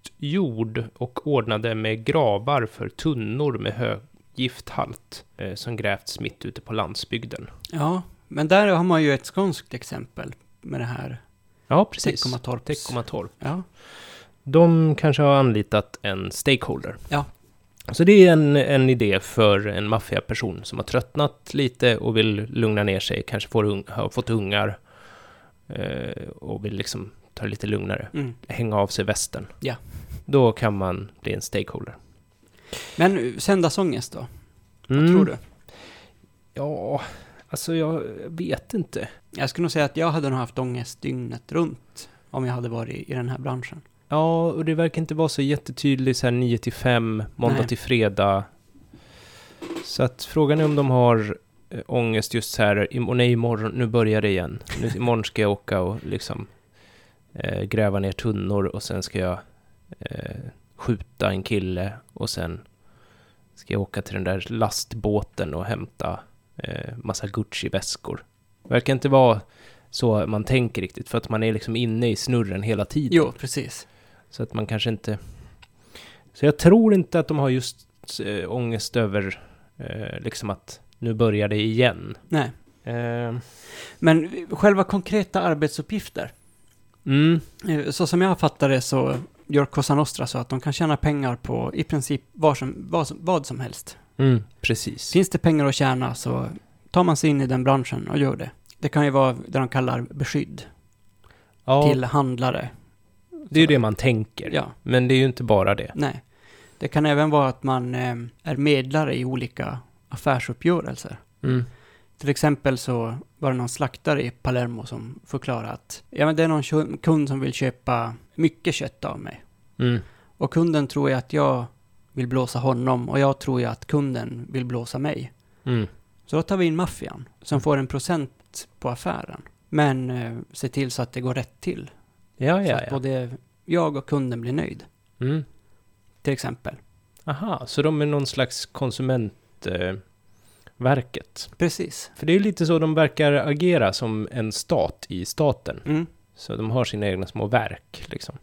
Speaker 1: kompostjord och ordnade med gravar för tunnor med hög gifthalt eh, som grävts mitt ute på landsbygden.
Speaker 2: Ja, men där har man ju ett skånskt exempel med det här
Speaker 1: Ja, precis.
Speaker 2: Teckomatorps.
Speaker 1: Teckomatorp.
Speaker 2: Ja.
Speaker 1: De kanske har anlitat en stakeholder.
Speaker 2: Ja.
Speaker 1: Så det är en, en idé för en maffiaperson som har tröttnat lite och vill lugna ner sig, kanske får un- har fått ungar eh, och vill liksom ta det lite lugnare,
Speaker 2: Mm.
Speaker 1: hänga av sig västen.
Speaker 2: Ja.
Speaker 1: Då kan man bli en stakeholder.
Speaker 2: Men eh, söndagsångest då? Vad
Speaker 1: Mm.
Speaker 2: tror du?
Speaker 1: Ja, alltså jag vet inte.
Speaker 2: Jag skulle nog säga att jag hade nog haft ångest dygnet runt om jag hade varit i den här branschen.
Speaker 1: Ja, och det verkar inte vara så jättetydligt så här 9 till 5, måndag
Speaker 2: Nej.
Speaker 1: till fredag. Så att frågan är om de har eh, ångest just så här, "Im- åh nej, imorgon, nu börjar det igen. Nu, imorgon ska jag åka och liksom eh, gräva ner tunnor och sen ska jag eh, skjuta en kille och sen ska jag åka till den där lastbåten och hämta eh, massa Gucci-väskor. Verkar inte vara så man tänker riktigt, för att man är liksom inne i snurren hela tiden.
Speaker 2: Jo, precis.
Speaker 1: Så att man kanske inte... Så jag tror inte att de har just eh, ångest över eh, liksom att nu börjar det igen.
Speaker 2: Nej.
Speaker 1: Eh,
Speaker 2: Men själva konkreta arbetsuppgifter.
Speaker 1: mm,
Speaker 2: Eh, Så som jag fattar det så gör Cosa Nostra så att de kan tjäna pengar på i princip vad som, vad som, vad som helst.
Speaker 1: mm, precis.
Speaker 2: Finns det pengar att tjäna så tar man sig in i den branschen och gör det. Det kan ju vara det de kallar beskydd
Speaker 1: Ja,
Speaker 2: till handlare.
Speaker 1: det är ju det man tänker.
Speaker 2: Ja,
Speaker 1: Men det är ju inte bara det.
Speaker 2: nej. Det kan även vara att man eh, är medlare i olika affärsuppgörelser.
Speaker 1: Mm.
Speaker 2: Till exempel så var det någon slaktare i Palermo som förklarade att ja, men det är någon kö- kund som vill köpa mycket kött av mig.
Speaker 1: Mm.
Speaker 2: Och kunden tror ju att jag vill blåsa honom och jag tror ju att kunden vill blåsa mig.
Speaker 1: Mm.
Speaker 2: Så då tar vi in maffian som får en procent på affären. Men eh, se till så att det går rätt till.
Speaker 1: Ja,
Speaker 2: så
Speaker 1: ja,
Speaker 2: att
Speaker 1: ja.
Speaker 2: både jag och kunden blir nöjd.
Speaker 1: Mm.
Speaker 2: Till exempel.
Speaker 1: Aha, så de är någon slags konsumentverket. Eh, verket.
Speaker 2: Precis.
Speaker 1: För det är ju lite så de verkar agera som en stat i staten.
Speaker 2: Mm.
Speaker 1: Så de har sina egna små verk, liksom.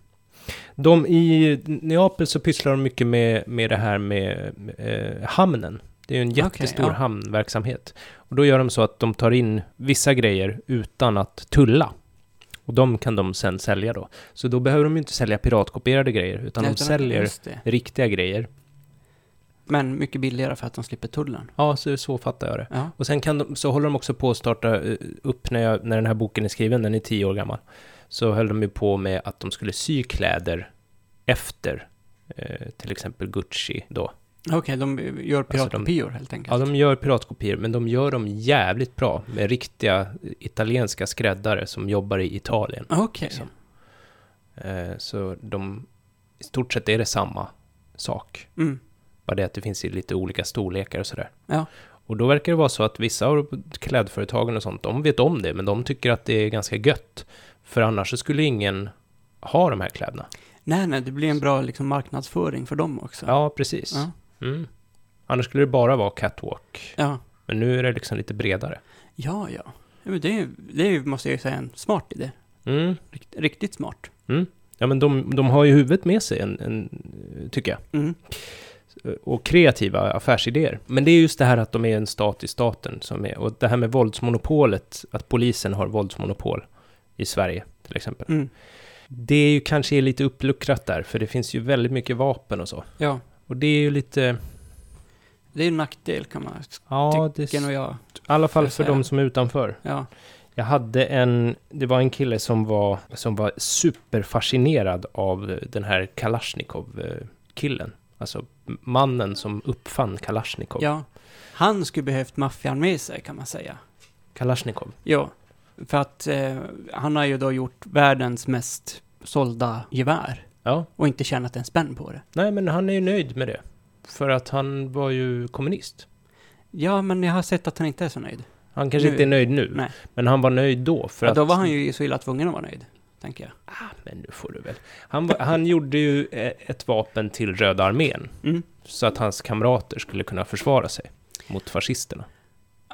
Speaker 1: De i Neapel så pysslar de mycket med, med det här med eh, hamnen. Det är ju en
Speaker 2: Okej,
Speaker 1: jättestor
Speaker 2: ja.
Speaker 1: hamnverksamhet. Och då gör de så att de tar in vissa grejer utan att tulla. Och de kan de sen sälja då. Så då behöver de ju inte sälja piratkopierade grejer, utan
Speaker 2: Nej,
Speaker 1: de säljer
Speaker 2: just det.
Speaker 1: riktiga grejer.
Speaker 2: Men mycket billigare för att de slipper tullen.
Speaker 1: Ja, så, så fattar jag det.
Speaker 2: Ja.
Speaker 1: Och sen kan de, så håller de också på att starta eh, upp när, jag, när den här boken är skriven, den är tio år gammal. Så höll de ju på med att de skulle sy kläder efter eh, till exempel Gucci då.
Speaker 2: Okej, de gör piratkopior helt enkelt.
Speaker 1: Ja, Alltså, de gör piratkopior, men de gör dem jävligt bra med riktiga eh, italienska skräddare som jobbar i Italien.
Speaker 2: Okej.
Speaker 1: liksom. Eh, så de, i stort sett är det samma sak.
Speaker 2: Mm.
Speaker 1: Bara det att det finns i lite olika storlekar och sådär.
Speaker 2: Ja.
Speaker 1: Och då verkar det vara så att vissa av klädföretagen och sånt, de vet om det, men de tycker att det är ganska gött. För annars så skulle ingen ha de här kläderna.
Speaker 2: Nej, nej, det blir en bra liksom, marknadsföring för dem också.
Speaker 1: Ja, precis.
Speaker 2: Ja.
Speaker 1: Mm. Annars skulle det bara vara catwalk.
Speaker 2: Ja,
Speaker 1: Men nu är det liksom lite bredare.
Speaker 2: ja. ja. ja men det, är ju- det är ju, måste jag ju säga, en smart idé.
Speaker 1: Mm.
Speaker 2: Rikt, riktigt smart.
Speaker 1: Ja, men de, de har ju huvudet med sig, en, en, tycker jag.
Speaker 2: Mm.
Speaker 1: Och kreativa affärsidéer. Men det är just det här att de är en stat i staten som är... Och det här med våldsmonopolet, att polisen har våldsmonopol i Sverige, till exempel.
Speaker 2: Mm.
Speaker 1: Det är ju kanske är lite uppluckrat där, för det finns ju väldigt mycket vapen och så.
Speaker 2: Ja,
Speaker 1: Och det är ju lite...
Speaker 2: det är ju en nackdel kan man
Speaker 1: Ja, det,
Speaker 2: tycka och
Speaker 1: i
Speaker 2: jag.
Speaker 1: alla fall
Speaker 2: jag
Speaker 1: för
Speaker 2: säga.
Speaker 1: de som är utanför.
Speaker 2: Ja.
Speaker 1: Jag hade en... Det var en kille som var, som var superfascinerad av eh, den här Kalashnikov-killen. Alltså mannen som uppfann Kalashnikov.
Speaker 2: ja. Han skulle behövt maffian med sig kan man säga.
Speaker 1: Kalashnikov.
Speaker 2: Ja, för att eh, han har ju då gjort världens mest sålda gevär
Speaker 1: Ja.
Speaker 2: och inte tjänat en spänn på det.
Speaker 1: Nej, men han är ju nöjd med det. För att han var ju kommunist.
Speaker 2: Ja, men jag har sett att han inte är så nöjd.
Speaker 1: Han kanske
Speaker 2: Nu-
Speaker 1: inte är nöjd nu,
Speaker 2: Nej.
Speaker 1: men han var nöjd då. För
Speaker 2: ja,
Speaker 1: att
Speaker 2: då var han ju så illa tvungen att vara nöjd, tänker jag.
Speaker 1: Men nu får du väl. Han, var, han gjorde ju eh, ett vapen till Röda armén.
Speaker 2: Mm.
Speaker 1: Så att hans kamrater skulle kunna försvara sig mot fascisterna.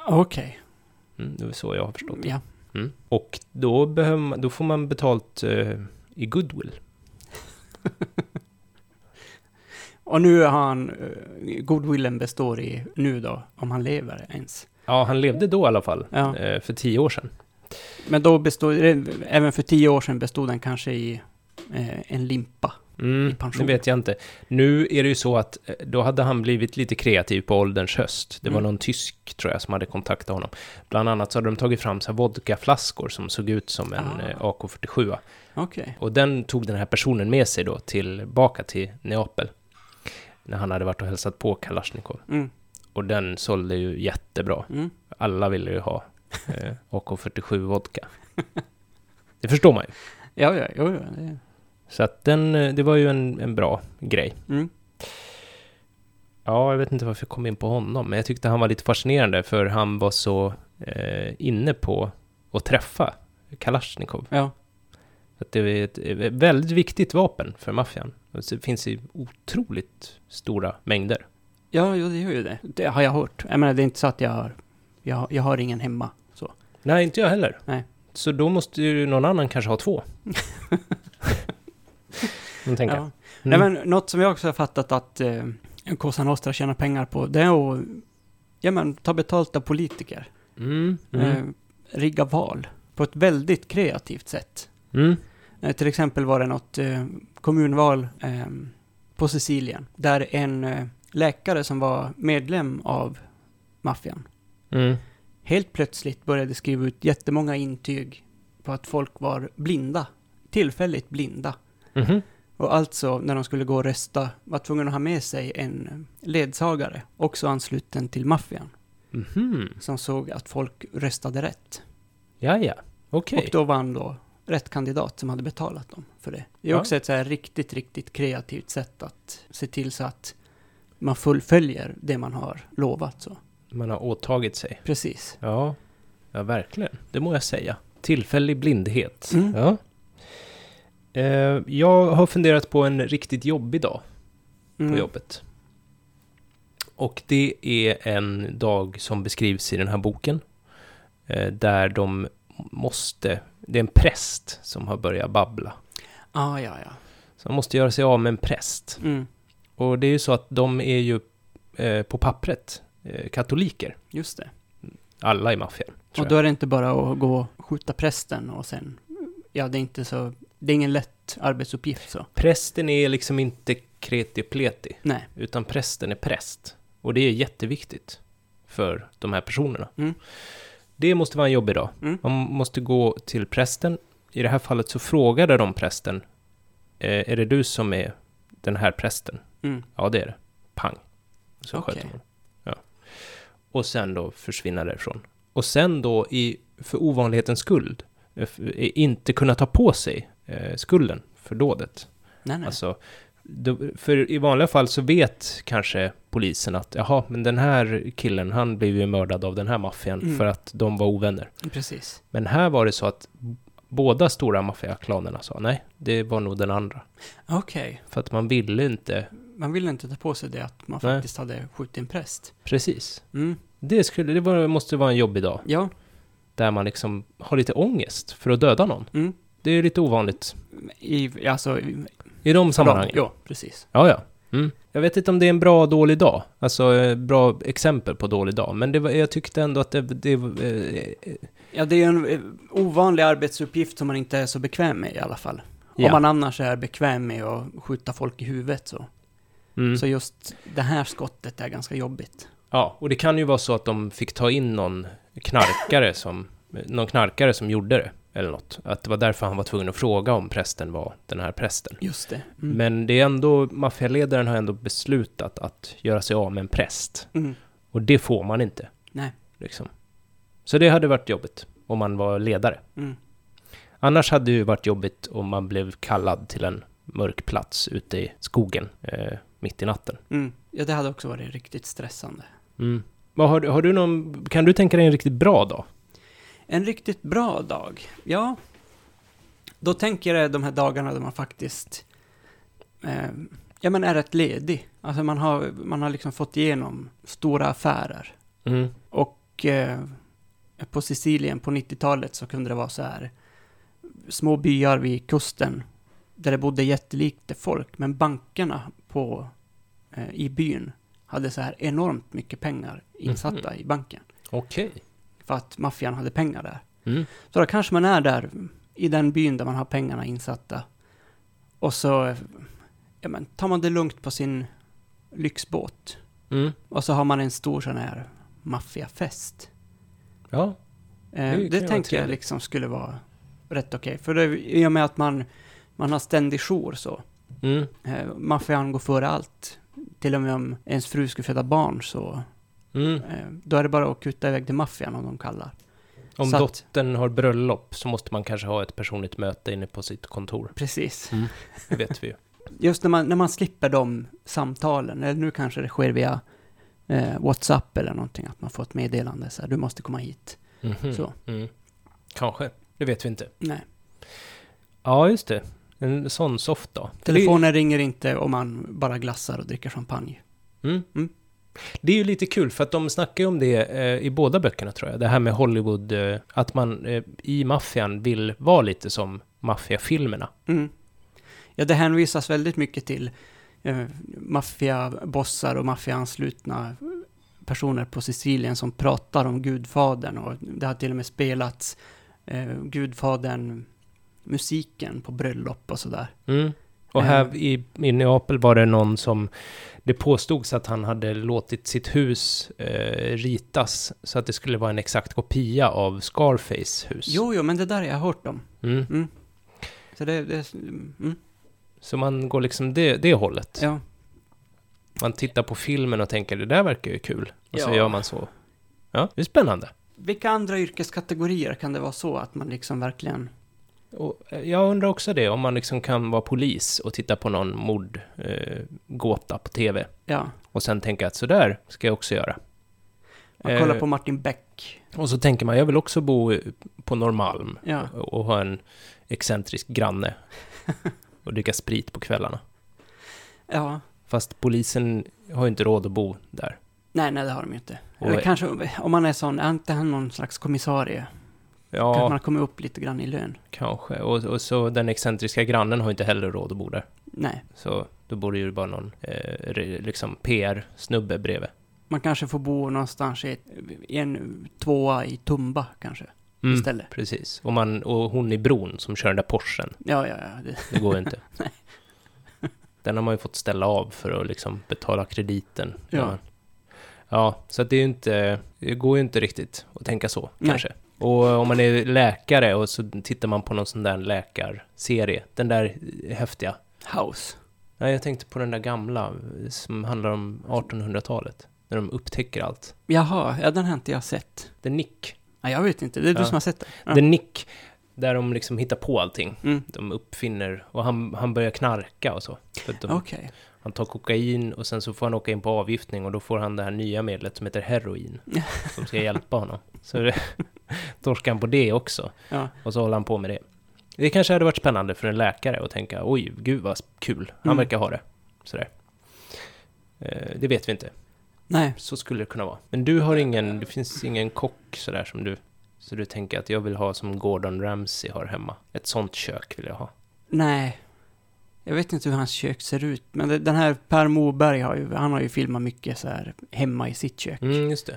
Speaker 2: Okej,
Speaker 1: Mm, det var så jag har förstått det.
Speaker 2: ja.
Speaker 1: Mm. Och då, behöver man, då får man betalt eh, i goodwill.
Speaker 2: Och nu har han, eh, goodwillen består i nu då, om han lever ens.
Speaker 1: Ja, han levde då i alla fall.
Speaker 2: Ja.
Speaker 1: Eh, för tio år sedan.
Speaker 2: Men då bestod, även för tio år sedan bestod den kanske i eh, en limpa. I
Speaker 1: Mm,
Speaker 2: pension.
Speaker 1: det vet jag inte. Nu är det ju så att eh, då hade han blivit lite kreativ på ålderns höst. Det var
Speaker 2: Mm.
Speaker 1: någon tysk, tror jag, som hade kontaktat honom. Bland annat så hade de tagit fram så här vodkaflaskor som såg ut som en
Speaker 2: Ah.
Speaker 1: eh, AK47.
Speaker 2: Okej.
Speaker 1: Och den tog den här personen med sig då tillbaka till Neapel. När han hade varit och hälsat på Kalashnikov.
Speaker 2: Mm.
Speaker 1: Och den sålde ju jättebra.
Speaker 2: Mm.
Speaker 1: Alla ville ju ha eh, AK47 vodka. Det förstår man ju.
Speaker 2: Ja, ja, jo, ja. Det,
Speaker 1: Så att den, eh, det var ju en, en bra grej.
Speaker 2: mm.
Speaker 1: Ja, jag vet inte varför jag kom in på honom, men jag tyckte han var lite fascinerande för han var så eh, inne på att träffa Kalashnikov.
Speaker 2: Ja.
Speaker 1: Att det är ett ett väldigt viktigt vapen för maffian. Och Det finns i otroligt stora mängder.
Speaker 2: Ja, jo, det gör ju det. Det har jag hört. Jag menar, det är inte så att jag har... Jag, jag har ingen hemma. Så.
Speaker 1: Nej, inte jag heller.
Speaker 2: Nej.
Speaker 1: Så då måste ju någon annan kanske ha två. Man tänker.
Speaker 2: Ja.
Speaker 1: Mm.
Speaker 2: Nej, men något som jag också har fattat att eh, Cosa Nostra tjänar pengar på, det är att ja, men, ta betalt av politiker.
Speaker 1: Mm, mm,
Speaker 2: Eh, rigga val på ett väldigt kreativt sätt.
Speaker 1: mm.
Speaker 2: Eh, till exempel var det något eh, kommunval eh, på Sicilien, där en eh, läkare som var medlem av maffian
Speaker 1: Mm.
Speaker 2: helt plötsligt började skriva ut jättemånga intyg på att folk var blinda, tillfälligt blinda.
Speaker 1: Mhm.
Speaker 2: Och alltså, när de skulle gå och rösta, var tvungen att ha med sig en ledsagare, också ansluten till maffian,
Speaker 1: Mhm.
Speaker 2: som såg att folk röstade rätt.
Speaker 1: Ja, ja. Okej.
Speaker 2: Och då vann då rätt kandidat som hade betalat dem för det. Det är
Speaker 1: Ja.
Speaker 2: också ett så här riktigt, riktigt kreativt sätt att se till så att man fullföljer det man har lovat. Så.
Speaker 1: Man har åtagit sig.
Speaker 2: Precis.
Speaker 1: Ja, ja verkligen. Det må jag säga. Tillfällig blindhet.
Speaker 2: Mm.
Speaker 1: Ja. Eh, jag har funderat på en riktigt jobbig dag på
Speaker 2: Mm.
Speaker 1: jobbet. Och det är en dag som beskrivs i den här boken. Eh, där de måste... Det är en präst som har börjat babbla.
Speaker 2: Ah, ja, ja.
Speaker 1: Så de måste göra sig av med en präst.
Speaker 2: Mm.
Speaker 1: Och det är ju så att de är ju eh, på pappret eh, katoliker.
Speaker 2: Just det.
Speaker 1: Alla i maffian. tror
Speaker 2: Och då är det inte bara att gå och skjuta prästen och sen... Ja, det är inte så... Det är ingen lätt arbetsuppgift så.
Speaker 1: Prästen är liksom inte kreti pleti,
Speaker 2: Nej.
Speaker 1: utan prästen är präst. Och det är jätteviktigt för de här personerna.
Speaker 2: Mm.
Speaker 1: Det måste vara en jobbig dag.
Speaker 2: Mm.
Speaker 1: Man måste gå till prästen. I det här fallet så frågade de prästen, eh, är det du som är den här prästen?
Speaker 2: Mm.
Speaker 1: Ja, det är det. Pang. Så
Speaker 2: Okej.
Speaker 1: sköt de honom. Ja. Och sen då försvinna därifrån. Och sen då, i, för ovanlighetens skuld, eh, f- eh, inte kunna ta på sig eh, skulden för dådet.
Speaker 2: Nej, nej.
Speaker 1: Alltså, då, för i vanliga fall så vet kanske polisen att jaha, men den här killen, han blev ju mördad av den här maffian
Speaker 2: Mm.
Speaker 1: för att de var ovänner.
Speaker 2: Precis.
Speaker 1: Men här var det så att b- båda stora maffiaklanerna sa nej, det var nog den andra.
Speaker 2: Okej.
Speaker 1: För att man ville inte,
Speaker 2: Man ville inte ta på sig det att man
Speaker 1: Nej.
Speaker 2: faktiskt hade skjutit en präst.
Speaker 1: precis.
Speaker 2: Mm.
Speaker 1: Det, skulle, det var, måste vara en jobbig dag,
Speaker 2: Ja.
Speaker 1: där man liksom har lite ångest för att döda någon.
Speaker 2: Mm.
Speaker 1: Det är lite ovanligt
Speaker 2: I, alltså... I,
Speaker 1: i de sammanhangen.
Speaker 2: Ja, precis.
Speaker 1: Ja, ja. Mm. Jag vet inte om det är en bra och dålig dag, alltså eh, bra exempel på dålig dag, men det var, jag tyckte ändå att det, det eh,
Speaker 2: Ja, det är ju en eh, ovanlig arbetsuppgift som man inte är så bekväm med i alla fall.
Speaker 1: Ja.
Speaker 2: Om man annars är bekväm med att skjuta folk i huvudet så.
Speaker 1: mm.
Speaker 2: Så just det här skottet är ganska jobbigt.
Speaker 1: Ja, och det kan ju vara så att de fick ta in någon knarkare som, någon knarkare som gjorde det, eller något. Att det var därför han var tvungen att fråga om prästen var den här prästen.
Speaker 2: Just det. Mm.
Speaker 1: Men det är ändå, maffialedaren har ändå beslutat att göra sig av med en präst,
Speaker 2: Mm.
Speaker 1: och det får man inte.
Speaker 2: Nej.
Speaker 1: Liksom. Så det hade varit jobbigt om man var ledare.
Speaker 2: Mm.
Speaker 1: Annars hade det ju varit jobbigt om man blev kallad till en mörk plats ute i skogen eh, mitt i natten.
Speaker 2: Mm. Ja, det hade också varit riktigt stressande.
Speaker 1: Mm. Vad har, du- har du någon, kan du tänka dig en riktigt bra dag?
Speaker 2: En riktigt bra dag, ja. Då tänker jag de här dagarna där man faktiskt eh, ja, men är rätt ledig. Alltså man har, man har liksom fått igenom stora affärer.
Speaker 1: Mm.
Speaker 2: Och eh, på Sicilien på 90-talet så kunde det vara så här små byar vid kusten där det bodde jättelite folk, men bankerna på, eh, i byn hade så här enormt mycket pengar insatta i banken.
Speaker 1: Okej.
Speaker 2: För att maffian hade pengar där.
Speaker 1: Mm.
Speaker 2: Så då kanske man är där i den byn där man har pengarna insatta. Och så ja, men, tar man det lugnt på sin lyxbåt.
Speaker 1: Mm.
Speaker 2: Och så har man en stor sån här maffiafest.
Speaker 1: Ja.
Speaker 2: Eh,
Speaker 1: Det
Speaker 2: det
Speaker 1: kan ju vara
Speaker 2: tänker jag
Speaker 1: trevligt.
Speaker 2: liksom skulle vara rätt okej. För det, i och med att man, man har ständig jour så.
Speaker 1: Mm.
Speaker 2: Eh, maffian går före allt. Till och med om ens fru skulle föda barn så
Speaker 1: Mm.
Speaker 2: eh, då är det bara att kuta iväg till maffian om de kallar.
Speaker 1: Om
Speaker 2: Så att-
Speaker 1: dottern har bröllop så måste man kanske ha ett personligt möte inne på sitt kontor.
Speaker 2: Precis.
Speaker 1: Det vet vi ju.
Speaker 2: just när man, när man slipper de samtalen, eller nu kanske det sker via eh, WhatsApp eller någonting, att man får ett meddelande så här, du måste komma hit.
Speaker 1: Mhm.
Speaker 2: Så.
Speaker 1: Mm. Kanske, det vet vi inte.
Speaker 2: Nej,
Speaker 1: Ja, just det. En sån soft då. För det-
Speaker 2: telefonen ringer inte om man bara glassar och dricker champagne.
Speaker 1: Mm.
Speaker 2: Mm.
Speaker 1: Det är ju lite kul för att de snackar ju om det eh, i båda böckerna tror jag. Det här med Hollywood, eh, att man eh, i maffian vill vara lite som maffiafilmerna.
Speaker 2: Mm. Ja, det hänvisas väldigt mycket till eh, maffiabossar och maffiaanslutna personer på Sicilien som pratar om Gudfadern och det har till och med spelats eh, Gudfadern-musiken på bröllop och sådär.
Speaker 1: Mm. Och
Speaker 2: Eh.
Speaker 1: här i, i Neapel var det någon som, det påstods att han hade låtit sitt hus eh, ritas så att det skulle vara en exakt kopia av Scarface hus.
Speaker 2: Jo, jo, men det där har jag hört om.
Speaker 1: Mm.
Speaker 2: Så det, det mm,
Speaker 1: Så man går liksom det, det hållet.
Speaker 2: ja.
Speaker 1: Man tittar på filmen och tänker det där verkar ju kul. Och så
Speaker 2: Ja.
Speaker 1: gör man så. Ja, det är spännande.
Speaker 2: Vilka andra yrkeskategorier kan det vara så att man liksom verkligen...
Speaker 1: Och eh, jag undrar också det, om man liksom kan vara polis och titta på någon mordgåta eh, gåta på tv
Speaker 2: Ja,
Speaker 1: och sen tänka att sådär ska jag också göra.
Speaker 2: man
Speaker 1: Eh.
Speaker 2: kollar på Martin Beck.
Speaker 1: Och så tänker man, jag vill också bo eh, på Norrmalm
Speaker 2: Ja.
Speaker 1: och, och ha en excentrisk granne och dricka sprit på kvällarna.
Speaker 2: Ja.
Speaker 1: Fast polisen har ju inte råd att bo där.
Speaker 2: Nej, nej, det har de ju inte.
Speaker 1: Och-
Speaker 2: Eller kanske om man är sån, är inte han någon slags kommissarie? Kanske
Speaker 1: Ja,
Speaker 2: man kommer upp lite grann i lön?
Speaker 1: kanske. Och, och så den excentriska grannen har ju inte heller råd att bo där.
Speaker 2: Nej,
Speaker 1: Så då borde ju bara någon eh, re- liksom PR-snubbe bredvid.
Speaker 2: man kanske får bo någonstans i, ett, i en tvåa i Tumba kanske,
Speaker 1: Mm.
Speaker 2: istället.
Speaker 1: Precis. Och, man, och hon i bron som kör den där Porschen,
Speaker 2: Ja, ja, ja. Det,
Speaker 1: det går ju inte. Den har man ju fått ställa av för att liksom betala krediten. när
Speaker 2: Ja.
Speaker 1: man- ja, så att det, är ju inte, det går ju inte riktigt att tänka så,
Speaker 2: Nej.
Speaker 1: kanske. Och om man är läkare och så tittar man på någon sån där läkarserie, den där häftiga.
Speaker 2: house.
Speaker 1: Nej, jag tänkte på den där gamla som handlar om 1800-talet, när de upptäcker allt.
Speaker 2: Jaha, ja, den har inte jag sett.
Speaker 1: The Nick.
Speaker 2: Ja, jag vet inte, det är du
Speaker 1: Ja.
Speaker 2: som har sett den. Ja.
Speaker 1: The Nick, där de liksom hittar på allting.
Speaker 2: Mm.
Speaker 1: de uppfinner och han, han börjar knarka och så. För att de,
Speaker 2: Okej.
Speaker 1: Han tar kokain och sen så får han åka in på avgiftning och då får han det här nya medlet som heter heroin. som ska hjälpa honom. Så det- torskar han på det också.
Speaker 2: Ja.
Speaker 1: Och så håller han på med det. Det kanske hade varit spännande för en läkare att tänka oj, gud vad kul, han
Speaker 2: Mm.
Speaker 1: verkar ha det. Sådär. Eh, Det vet vi inte.
Speaker 2: Nej,
Speaker 1: Så skulle det kunna vara. Men du har ingen, det finns ingen kock sådär som du, så du tänker att jag vill ha som Gordon Ramsay har hemma. Ett sånt kök vill jag ha.
Speaker 2: nej. Jag vet inte hur hans kök ser ut, men det, den här Per Moberg har ju, han har ju filmat mycket så här hemma i sitt kök.
Speaker 1: Mm, just det.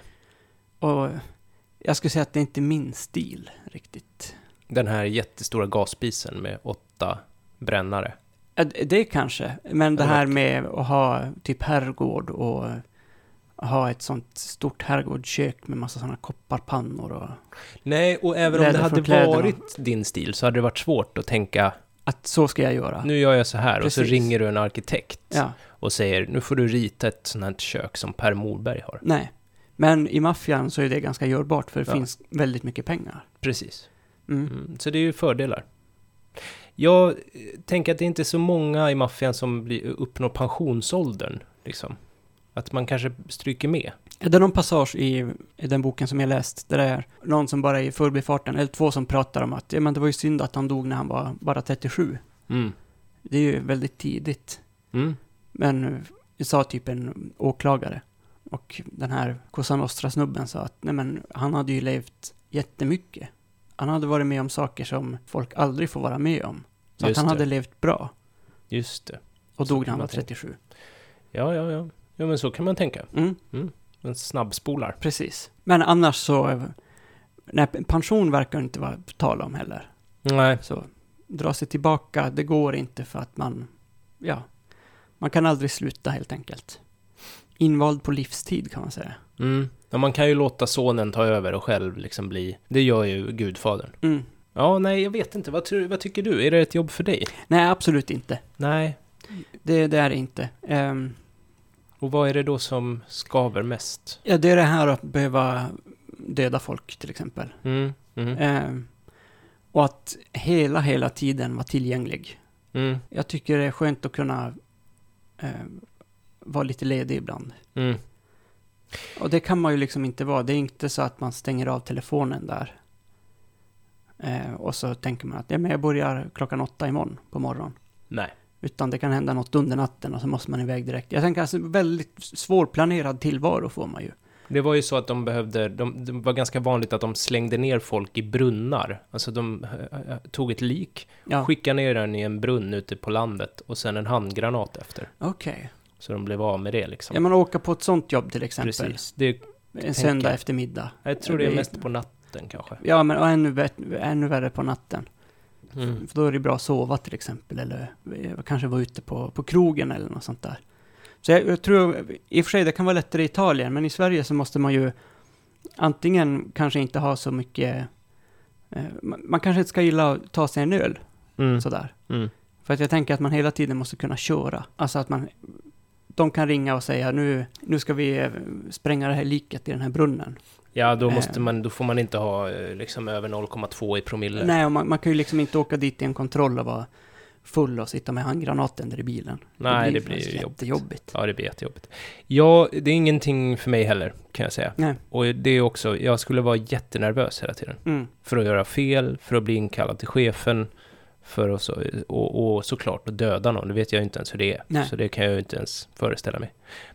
Speaker 2: Och jag skulle säga att det är inte min stil riktigt.
Speaker 1: Den här jättestora gasspisen med åtta brännare.
Speaker 2: Ja, d- Det kanske, men det
Speaker 1: Eller
Speaker 2: här med att ha typ herrgård och ha ett sånt stort herrgårdskök med massa sådana kopparpannor och
Speaker 1: Nej, och även om det hade
Speaker 2: Läderförkläden och-
Speaker 1: varit din stil så hade det varit svårt att tänka
Speaker 2: att så ska jag göra.
Speaker 1: nu gör jag så här och
Speaker 2: Precis.
Speaker 1: så ringer du en arkitekt
Speaker 2: Ja,
Speaker 1: och säger nu får du rita ett sånt här kök som Per Morberg har.
Speaker 2: nej. Men i maffian så är det ganska görbart för det
Speaker 1: Ja.
Speaker 2: finns väldigt mycket pengar.
Speaker 1: Precis.
Speaker 2: Mm.
Speaker 1: Mm, så det är ju fördelar. Jag eh, tänker att det är inte är så många i maffian som blir, uppnår pensionsåldern. Liksom. Att man kanske stryker med.
Speaker 2: Det är någon passage i, i den boken som jag läst där det är någon som bara är i förbifarten, eller två som pratar om att ja, men det var ju synd att han dog när han var bara 37.
Speaker 1: Mm.
Speaker 2: Det är ju väldigt tidigt.
Speaker 1: Mm.
Speaker 2: Men eh, sa typ en åklagare. Och den här Cosa Nostra-snubben sa att nej men han hade ju levt jättemycket. Han hade varit med om saker som folk aldrig får vara med om. Så att
Speaker 1: Just
Speaker 2: han
Speaker 1: det.
Speaker 2: hade levt bra
Speaker 1: Just det.
Speaker 2: och
Speaker 1: Så
Speaker 2: dog
Speaker 1: kan
Speaker 2: när han
Speaker 1: man
Speaker 2: var
Speaker 1: tänka.
Speaker 2: 37.
Speaker 1: Ja, ja, ja. Ja, men så kan man tänka.
Speaker 2: Mm,
Speaker 1: Man snabbspolar.
Speaker 2: precis. Men annars så, eh, nej, pension verkar inte vara på tal om heller.
Speaker 1: Nej,
Speaker 2: Så dra sig tillbaka, det går inte för att man, ja, man kan aldrig sluta helt enkelt. Invald på livstid kan man säga.
Speaker 1: Mm. Ja, man kan ju låta sonen ta över och själv liksom bli... Det gör ju gudfadern.
Speaker 2: Mm.
Speaker 1: Ja, nej, jag vet inte. Vad, tror- vad tycker du? Är det ett jobb för dig?
Speaker 2: Nej, absolut inte.
Speaker 1: Nej.
Speaker 2: Det, det är det inte. Ehm,
Speaker 1: Och vad är det då som skaver mest?
Speaker 2: ja, det är det här att behöva döda folk till exempel.
Speaker 1: Mm. Mm.
Speaker 2: Ehm, och att hela, hela tiden vara tillgänglig.
Speaker 1: Mm.
Speaker 2: Jag tycker det är skönt att kunna eh, vara lite ledig ibland.
Speaker 1: Mm.
Speaker 2: Och det kan man ju liksom inte vara. Det är inte så att man stänger av telefonen där. Eh, och så tänker man att ja, men jag börjar klockan åtta imorgon på morgonen.
Speaker 1: Nej.
Speaker 2: Utan det kan hända något under natten och så måste man iväg direkt. Jag tänker alltså väldigt svårplanerad tillvaro får man ju.
Speaker 1: Det var ju så att de behövde, de, det var ganska vanligt att de slängde ner folk i brunnar. Alltså de eh, eh, tog ett lik,
Speaker 2: Ja,
Speaker 1: skickade ner den i en brunn ute på landet och sen en handgranat efter.
Speaker 2: okej.
Speaker 1: Så de blev av med det liksom.
Speaker 2: Ja, man åker på ett sånt jobb till exempel.
Speaker 1: Precis. Det,
Speaker 2: En söndag
Speaker 1: jag.
Speaker 2: eftermiddag.
Speaker 1: jag tror det är
Speaker 2: Det-
Speaker 1: mest på natten kanske.
Speaker 2: Ja, men och ännu, vä- ännu värre på natten.
Speaker 1: Mm.
Speaker 2: För då är det bra att sova till exempel, eller eh, kanske vara ute på, på krogen eller något sånt där. Så jag, jag tror, i och för sig det kan vara lättare i Italien, men i Sverige så måste man ju antingen kanske inte ha så mycket, eh, man, man kanske inte ska gilla att ta sig en öl
Speaker 1: Mm.
Speaker 2: sådär.
Speaker 1: Mm.
Speaker 2: För att jag tänker att man hela tiden måste kunna köra. Alltså att man, de kan ringa och säga nu, nu ska vi eh, spränga det här liket i den här brunnen.
Speaker 1: Ja, då, måste
Speaker 2: Eh.
Speaker 1: man, då får man inte ha eh, liksom över 0,2 i promille.
Speaker 2: Nej, och man, man kan ju liksom inte åka dit i en kontroll och vara full och sitta med handgranaten där i bilen.
Speaker 1: Nej, det blir
Speaker 2: faktiskt
Speaker 1: ju jobbigt.
Speaker 2: jättejobbigt.
Speaker 1: Ja, det blir jättejobbigt. Ja, det är ingenting för mig heller, kan jag säga.
Speaker 2: Nej.
Speaker 1: Och det är också, jag skulle vara jättenervös hela tiden.
Speaker 2: Mm.
Speaker 1: För att göra fel, för att bli inkallad till chefen, för att så, och, och såklart att döda någon. Det vet jag ju inte ens hur det är,
Speaker 2: Nej.
Speaker 1: så det kan jag ju inte ens föreställa mig.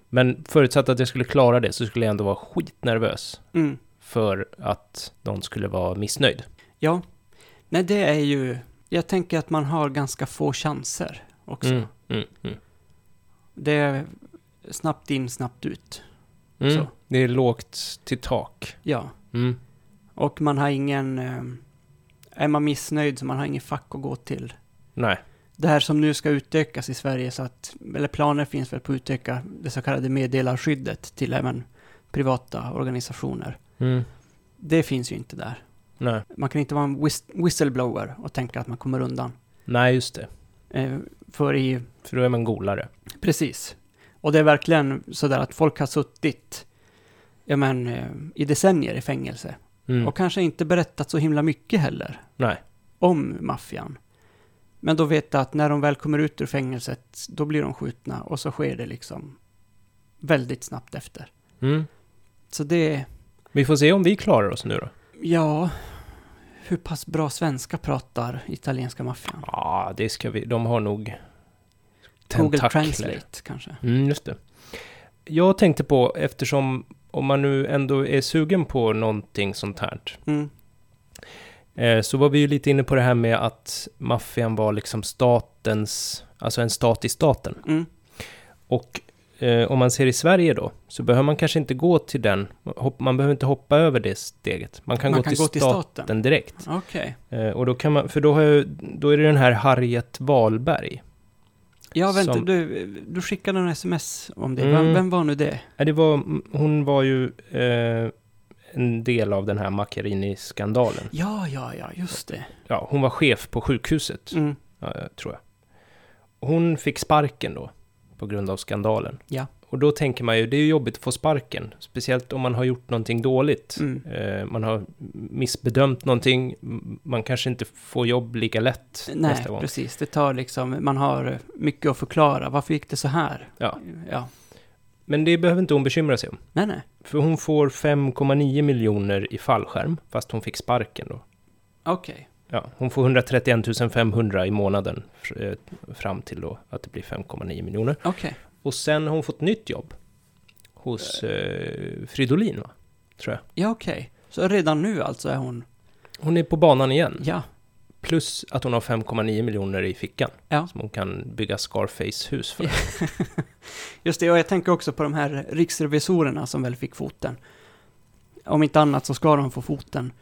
Speaker 1: Men förutsatt att jag skulle klara det så skulle jag ändå vara skitnervös
Speaker 2: Mm.
Speaker 1: för att någon skulle vara missnöjd.
Speaker 2: Ja. Nej, det är ju... Jag tänker att man har ganska få chanser också.
Speaker 1: Mm, mm, mm.
Speaker 2: Det är snabbt in, snabbt ut.
Speaker 1: Mm.
Speaker 2: Så.
Speaker 1: Det är lågt till tak.
Speaker 2: Ja.
Speaker 1: Mm.
Speaker 2: Och man har ingen... eh, Är man missnöjd så man har ingen fack att gå till.
Speaker 1: Nej.
Speaker 2: Det här som nu ska utökas i Sverige så att... Eller planer finns väl på att utöka det så kallade meddelarskyddet till även privata organisationer.
Speaker 1: Mm.
Speaker 2: Det finns ju inte där.
Speaker 1: Nej.
Speaker 2: Man kan inte vara en whist- whistleblower och tänka att man kommer undan.
Speaker 1: Nej, just det.
Speaker 2: Eh, För i
Speaker 1: För då är man golare.
Speaker 2: Precis. Och det är verkligen sådär att folk har suttit ja, men, eh, i decennier i fängelse.
Speaker 1: Mm.
Speaker 2: Och kanske inte berättat så himla mycket heller
Speaker 1: Nej.
Speaker 2: om maffian. Men då vet jag att när de väl kommer ut ur fängelset, då blir de skjutna och så sker det liksom väldigt snabbt efter.
Speaker 1: Mm.
Speaker 2: Så det,
Speaker 1: Vi får se om vi klarar oss nu då.
Speaker 2: ja, hur pass bra svenska pratar italienska maffian?
Speaker 1: Ja, det ska vi. De har nog
Speaker 2: Google
Speaker 1: tentakler.
Speaker 2: Translate kanske?
Speaker 1: Mm, just det. Jag tänkte på, eftersom om man nu ändå är sugen på någonting sånt här,
Speaker 2: Mm,
Speaker 1: eh, så var vi ju lite inne på det här med att maffian var liksom statens, alltså en stat i staten.
Speaker 2: mm,
Speaker 1: Och eh, om man ser i Sverige då, så behöver man kanske inte gå till den, hopp, man behöver inte hoppa över det steget. Man kan,
Speaker 2: Man
Speaker 1: gå,
Speaker 2: kan
Speaker 1: till
Speaker 2: gå till staten.
Speaker 1: staten direkt.
Speaker 2: Okej.
Speaker 1: Eh, och då kan man, för då, har jag, då är det den här Harriet Wahlberg.
Speaker 2: Ja, vänta,
Speaker 1: som-
Speaker 2: du, du skickade en sms om det.
Speaker 1: Mm.
Speaker 2: Vem, vem var nu det?
Speaker 1: Ja, Eh, det var, hon var ju eh, en del av den här Macchiarini-skandalen.
Speaker 2: Ja, ja, ja, just det.
Speaker 1: Ja, hon var chef på sjukhuset,
Speaker 2: Mm.
Speaker 1: eh, tror jag. Hon fick sparken då, på grund av skandalen.
Speaker 2: Ja.
Speaker 1: Och då tänker man ju, det är ju jobbigt att få sparken, speciellt om man har gjort någonting dåligt.
Speaker 2: Mm.
Speaker 1: Eh, man har missbedömt någonting, m- man kanske inte får jobb lika lätt
Speaker 2: Nej,
Speaker 1: nästa gång.
Speaker 2: precis. Det tar liksom, man har mycket att förklara. Varför gick det så här?
Speaker 1: Ja.
Speaker 2: ja.
Speaker 1: Men det behöver inte hon bekymra sig om.
Speaker 2: Nej, nej.
Speaker 1: För hon får 5,9 miljoner i fallskärm, fast hon fick sparken då.
Speaker 2: Okej.
Speaker 1: Ja, hon får 131 500 i månaden fr- eh, fram till då att det blir 5,9 miljoner.
Speaker 2: Okej.
Speaker 1: Och sen har hon fått nytt jobb hos eh, Fridolin, va? tror jag.
Speaker 2: Ja, okej. Så redan nu alltså är hon...
Speaker 1: Hon är på banan igen,
Speaker 2: Ja.
Speaker 1: plus att hon har 5,9 miljoner i fickan
Speaker 2: Ja.
Speaker 1: som hon kan bygga Scarface-hus för.
Speaker 2: Ja. Just det, och jag tänker också på de här riksrevisorerna som väl fick foten. Om inte annat så ska de få foten.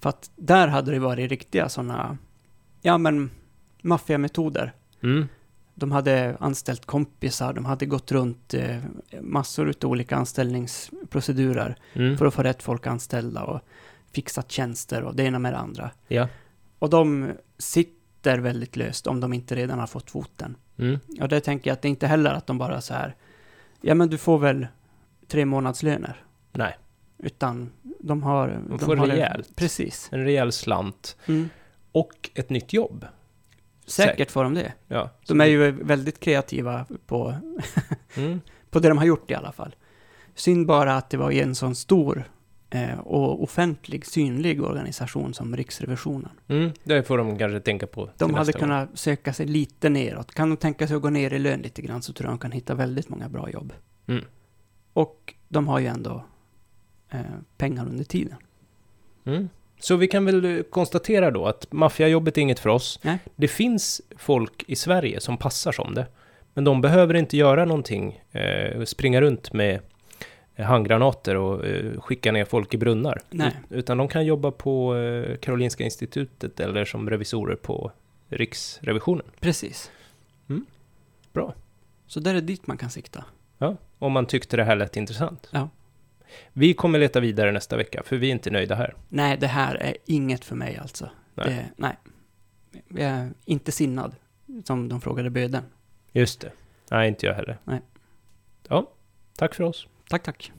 Speaker 2: För att där hade det varit riktiga sådana, ja men, maffiametoder.
Speaker 1: Mm.
Speaker 2: De hade anställt kompisar, de hade gått runt eh, massor av olika anställningsprocedurer
Speaker 1: Mm.
Speaker 2: för att få rätt folk anställda och fixat tjänster och det ena med det andra.
Speaker 1: Ja.
Speaker 2: Och de sitter väldigt löst om de inte redan har fått foten.
Speaker 1: Mm.
Speaker 2: Och det tänker jag att det är inte heller att de bara så här, ja men du får väl tre månadslöner.
Speaker 1: Nej,
Speaker 2: Utan de har...
Speaker 1: får
Speaker 2: har
Speaker 1: rejält.
Speaker 2: Precis.
Speaker 1: en rejäl slant
Speaker 2: Mm.
Speaker 1: och ett nytt jobb.
Speaker 2: Säkert får de det.
Speaker 1: Ja.
Speaker 2: De är ju väldigt kreativa på,
Speaker 1: Mm.
Speaker 2: på det de har gjort i alla fall. Synd bara att det var i en sån stor eh, och offentlig, synlig organisation som Riksrevisionen.
Speaker 1: Mm. Det får de kanske tänka på till
Speaker 2: De hade
Speaker 1: nästa gång.
Speaker 2: kunnat söka sig lite neråt. Kan de tänka sig att gå ner i lön lite grann så tror jag de kan hitta väldigt många bra jobb.
Speaker 1: Mm.
Speaker 2: Och de har ju ändå eh, pengar under tiden.
Speaker 1: Mm. Så vi kan väl eh, konstatera då att maffiajobbet är inget för oss.
Speaker 2: Nej.
Speaker 1: Det finns folk i Sverige som passar som det, men de behöver inte göra någonting, eh, springa runt med eh, handgranater och eh, skicka ner folk i brunnar.
Speaker 2: Nej.
Speaker 1: Ut- Utan de kan jobba på eh, Karolinska Institutet eller som revisorer på Riksrevisionen.
Speaker 2: Precis.
Speaker 1: Mm. Bra.
Speaker 2: Så där är dit man kan sikta.
Speaker 1: Ja, om man tyckte det här lät intressant.
Speaker 2: Ja.
Speaker 1: Vi kommer leta vidare nästa vecka, för vi är inte nöjda här.
Speaker 2: Nej, det här är inget för mig alltså.
Speaker 1: Nej.
Speaker 2: Nej. Det, nej. Jag är inte sinnad, som de frågade böden.
Speaker 1: Just det. Nej, inte jag heller.
Speaker 2: Nej.
Speaker 1: Ja, tack för oss.
Speaker 2: Tack, tack.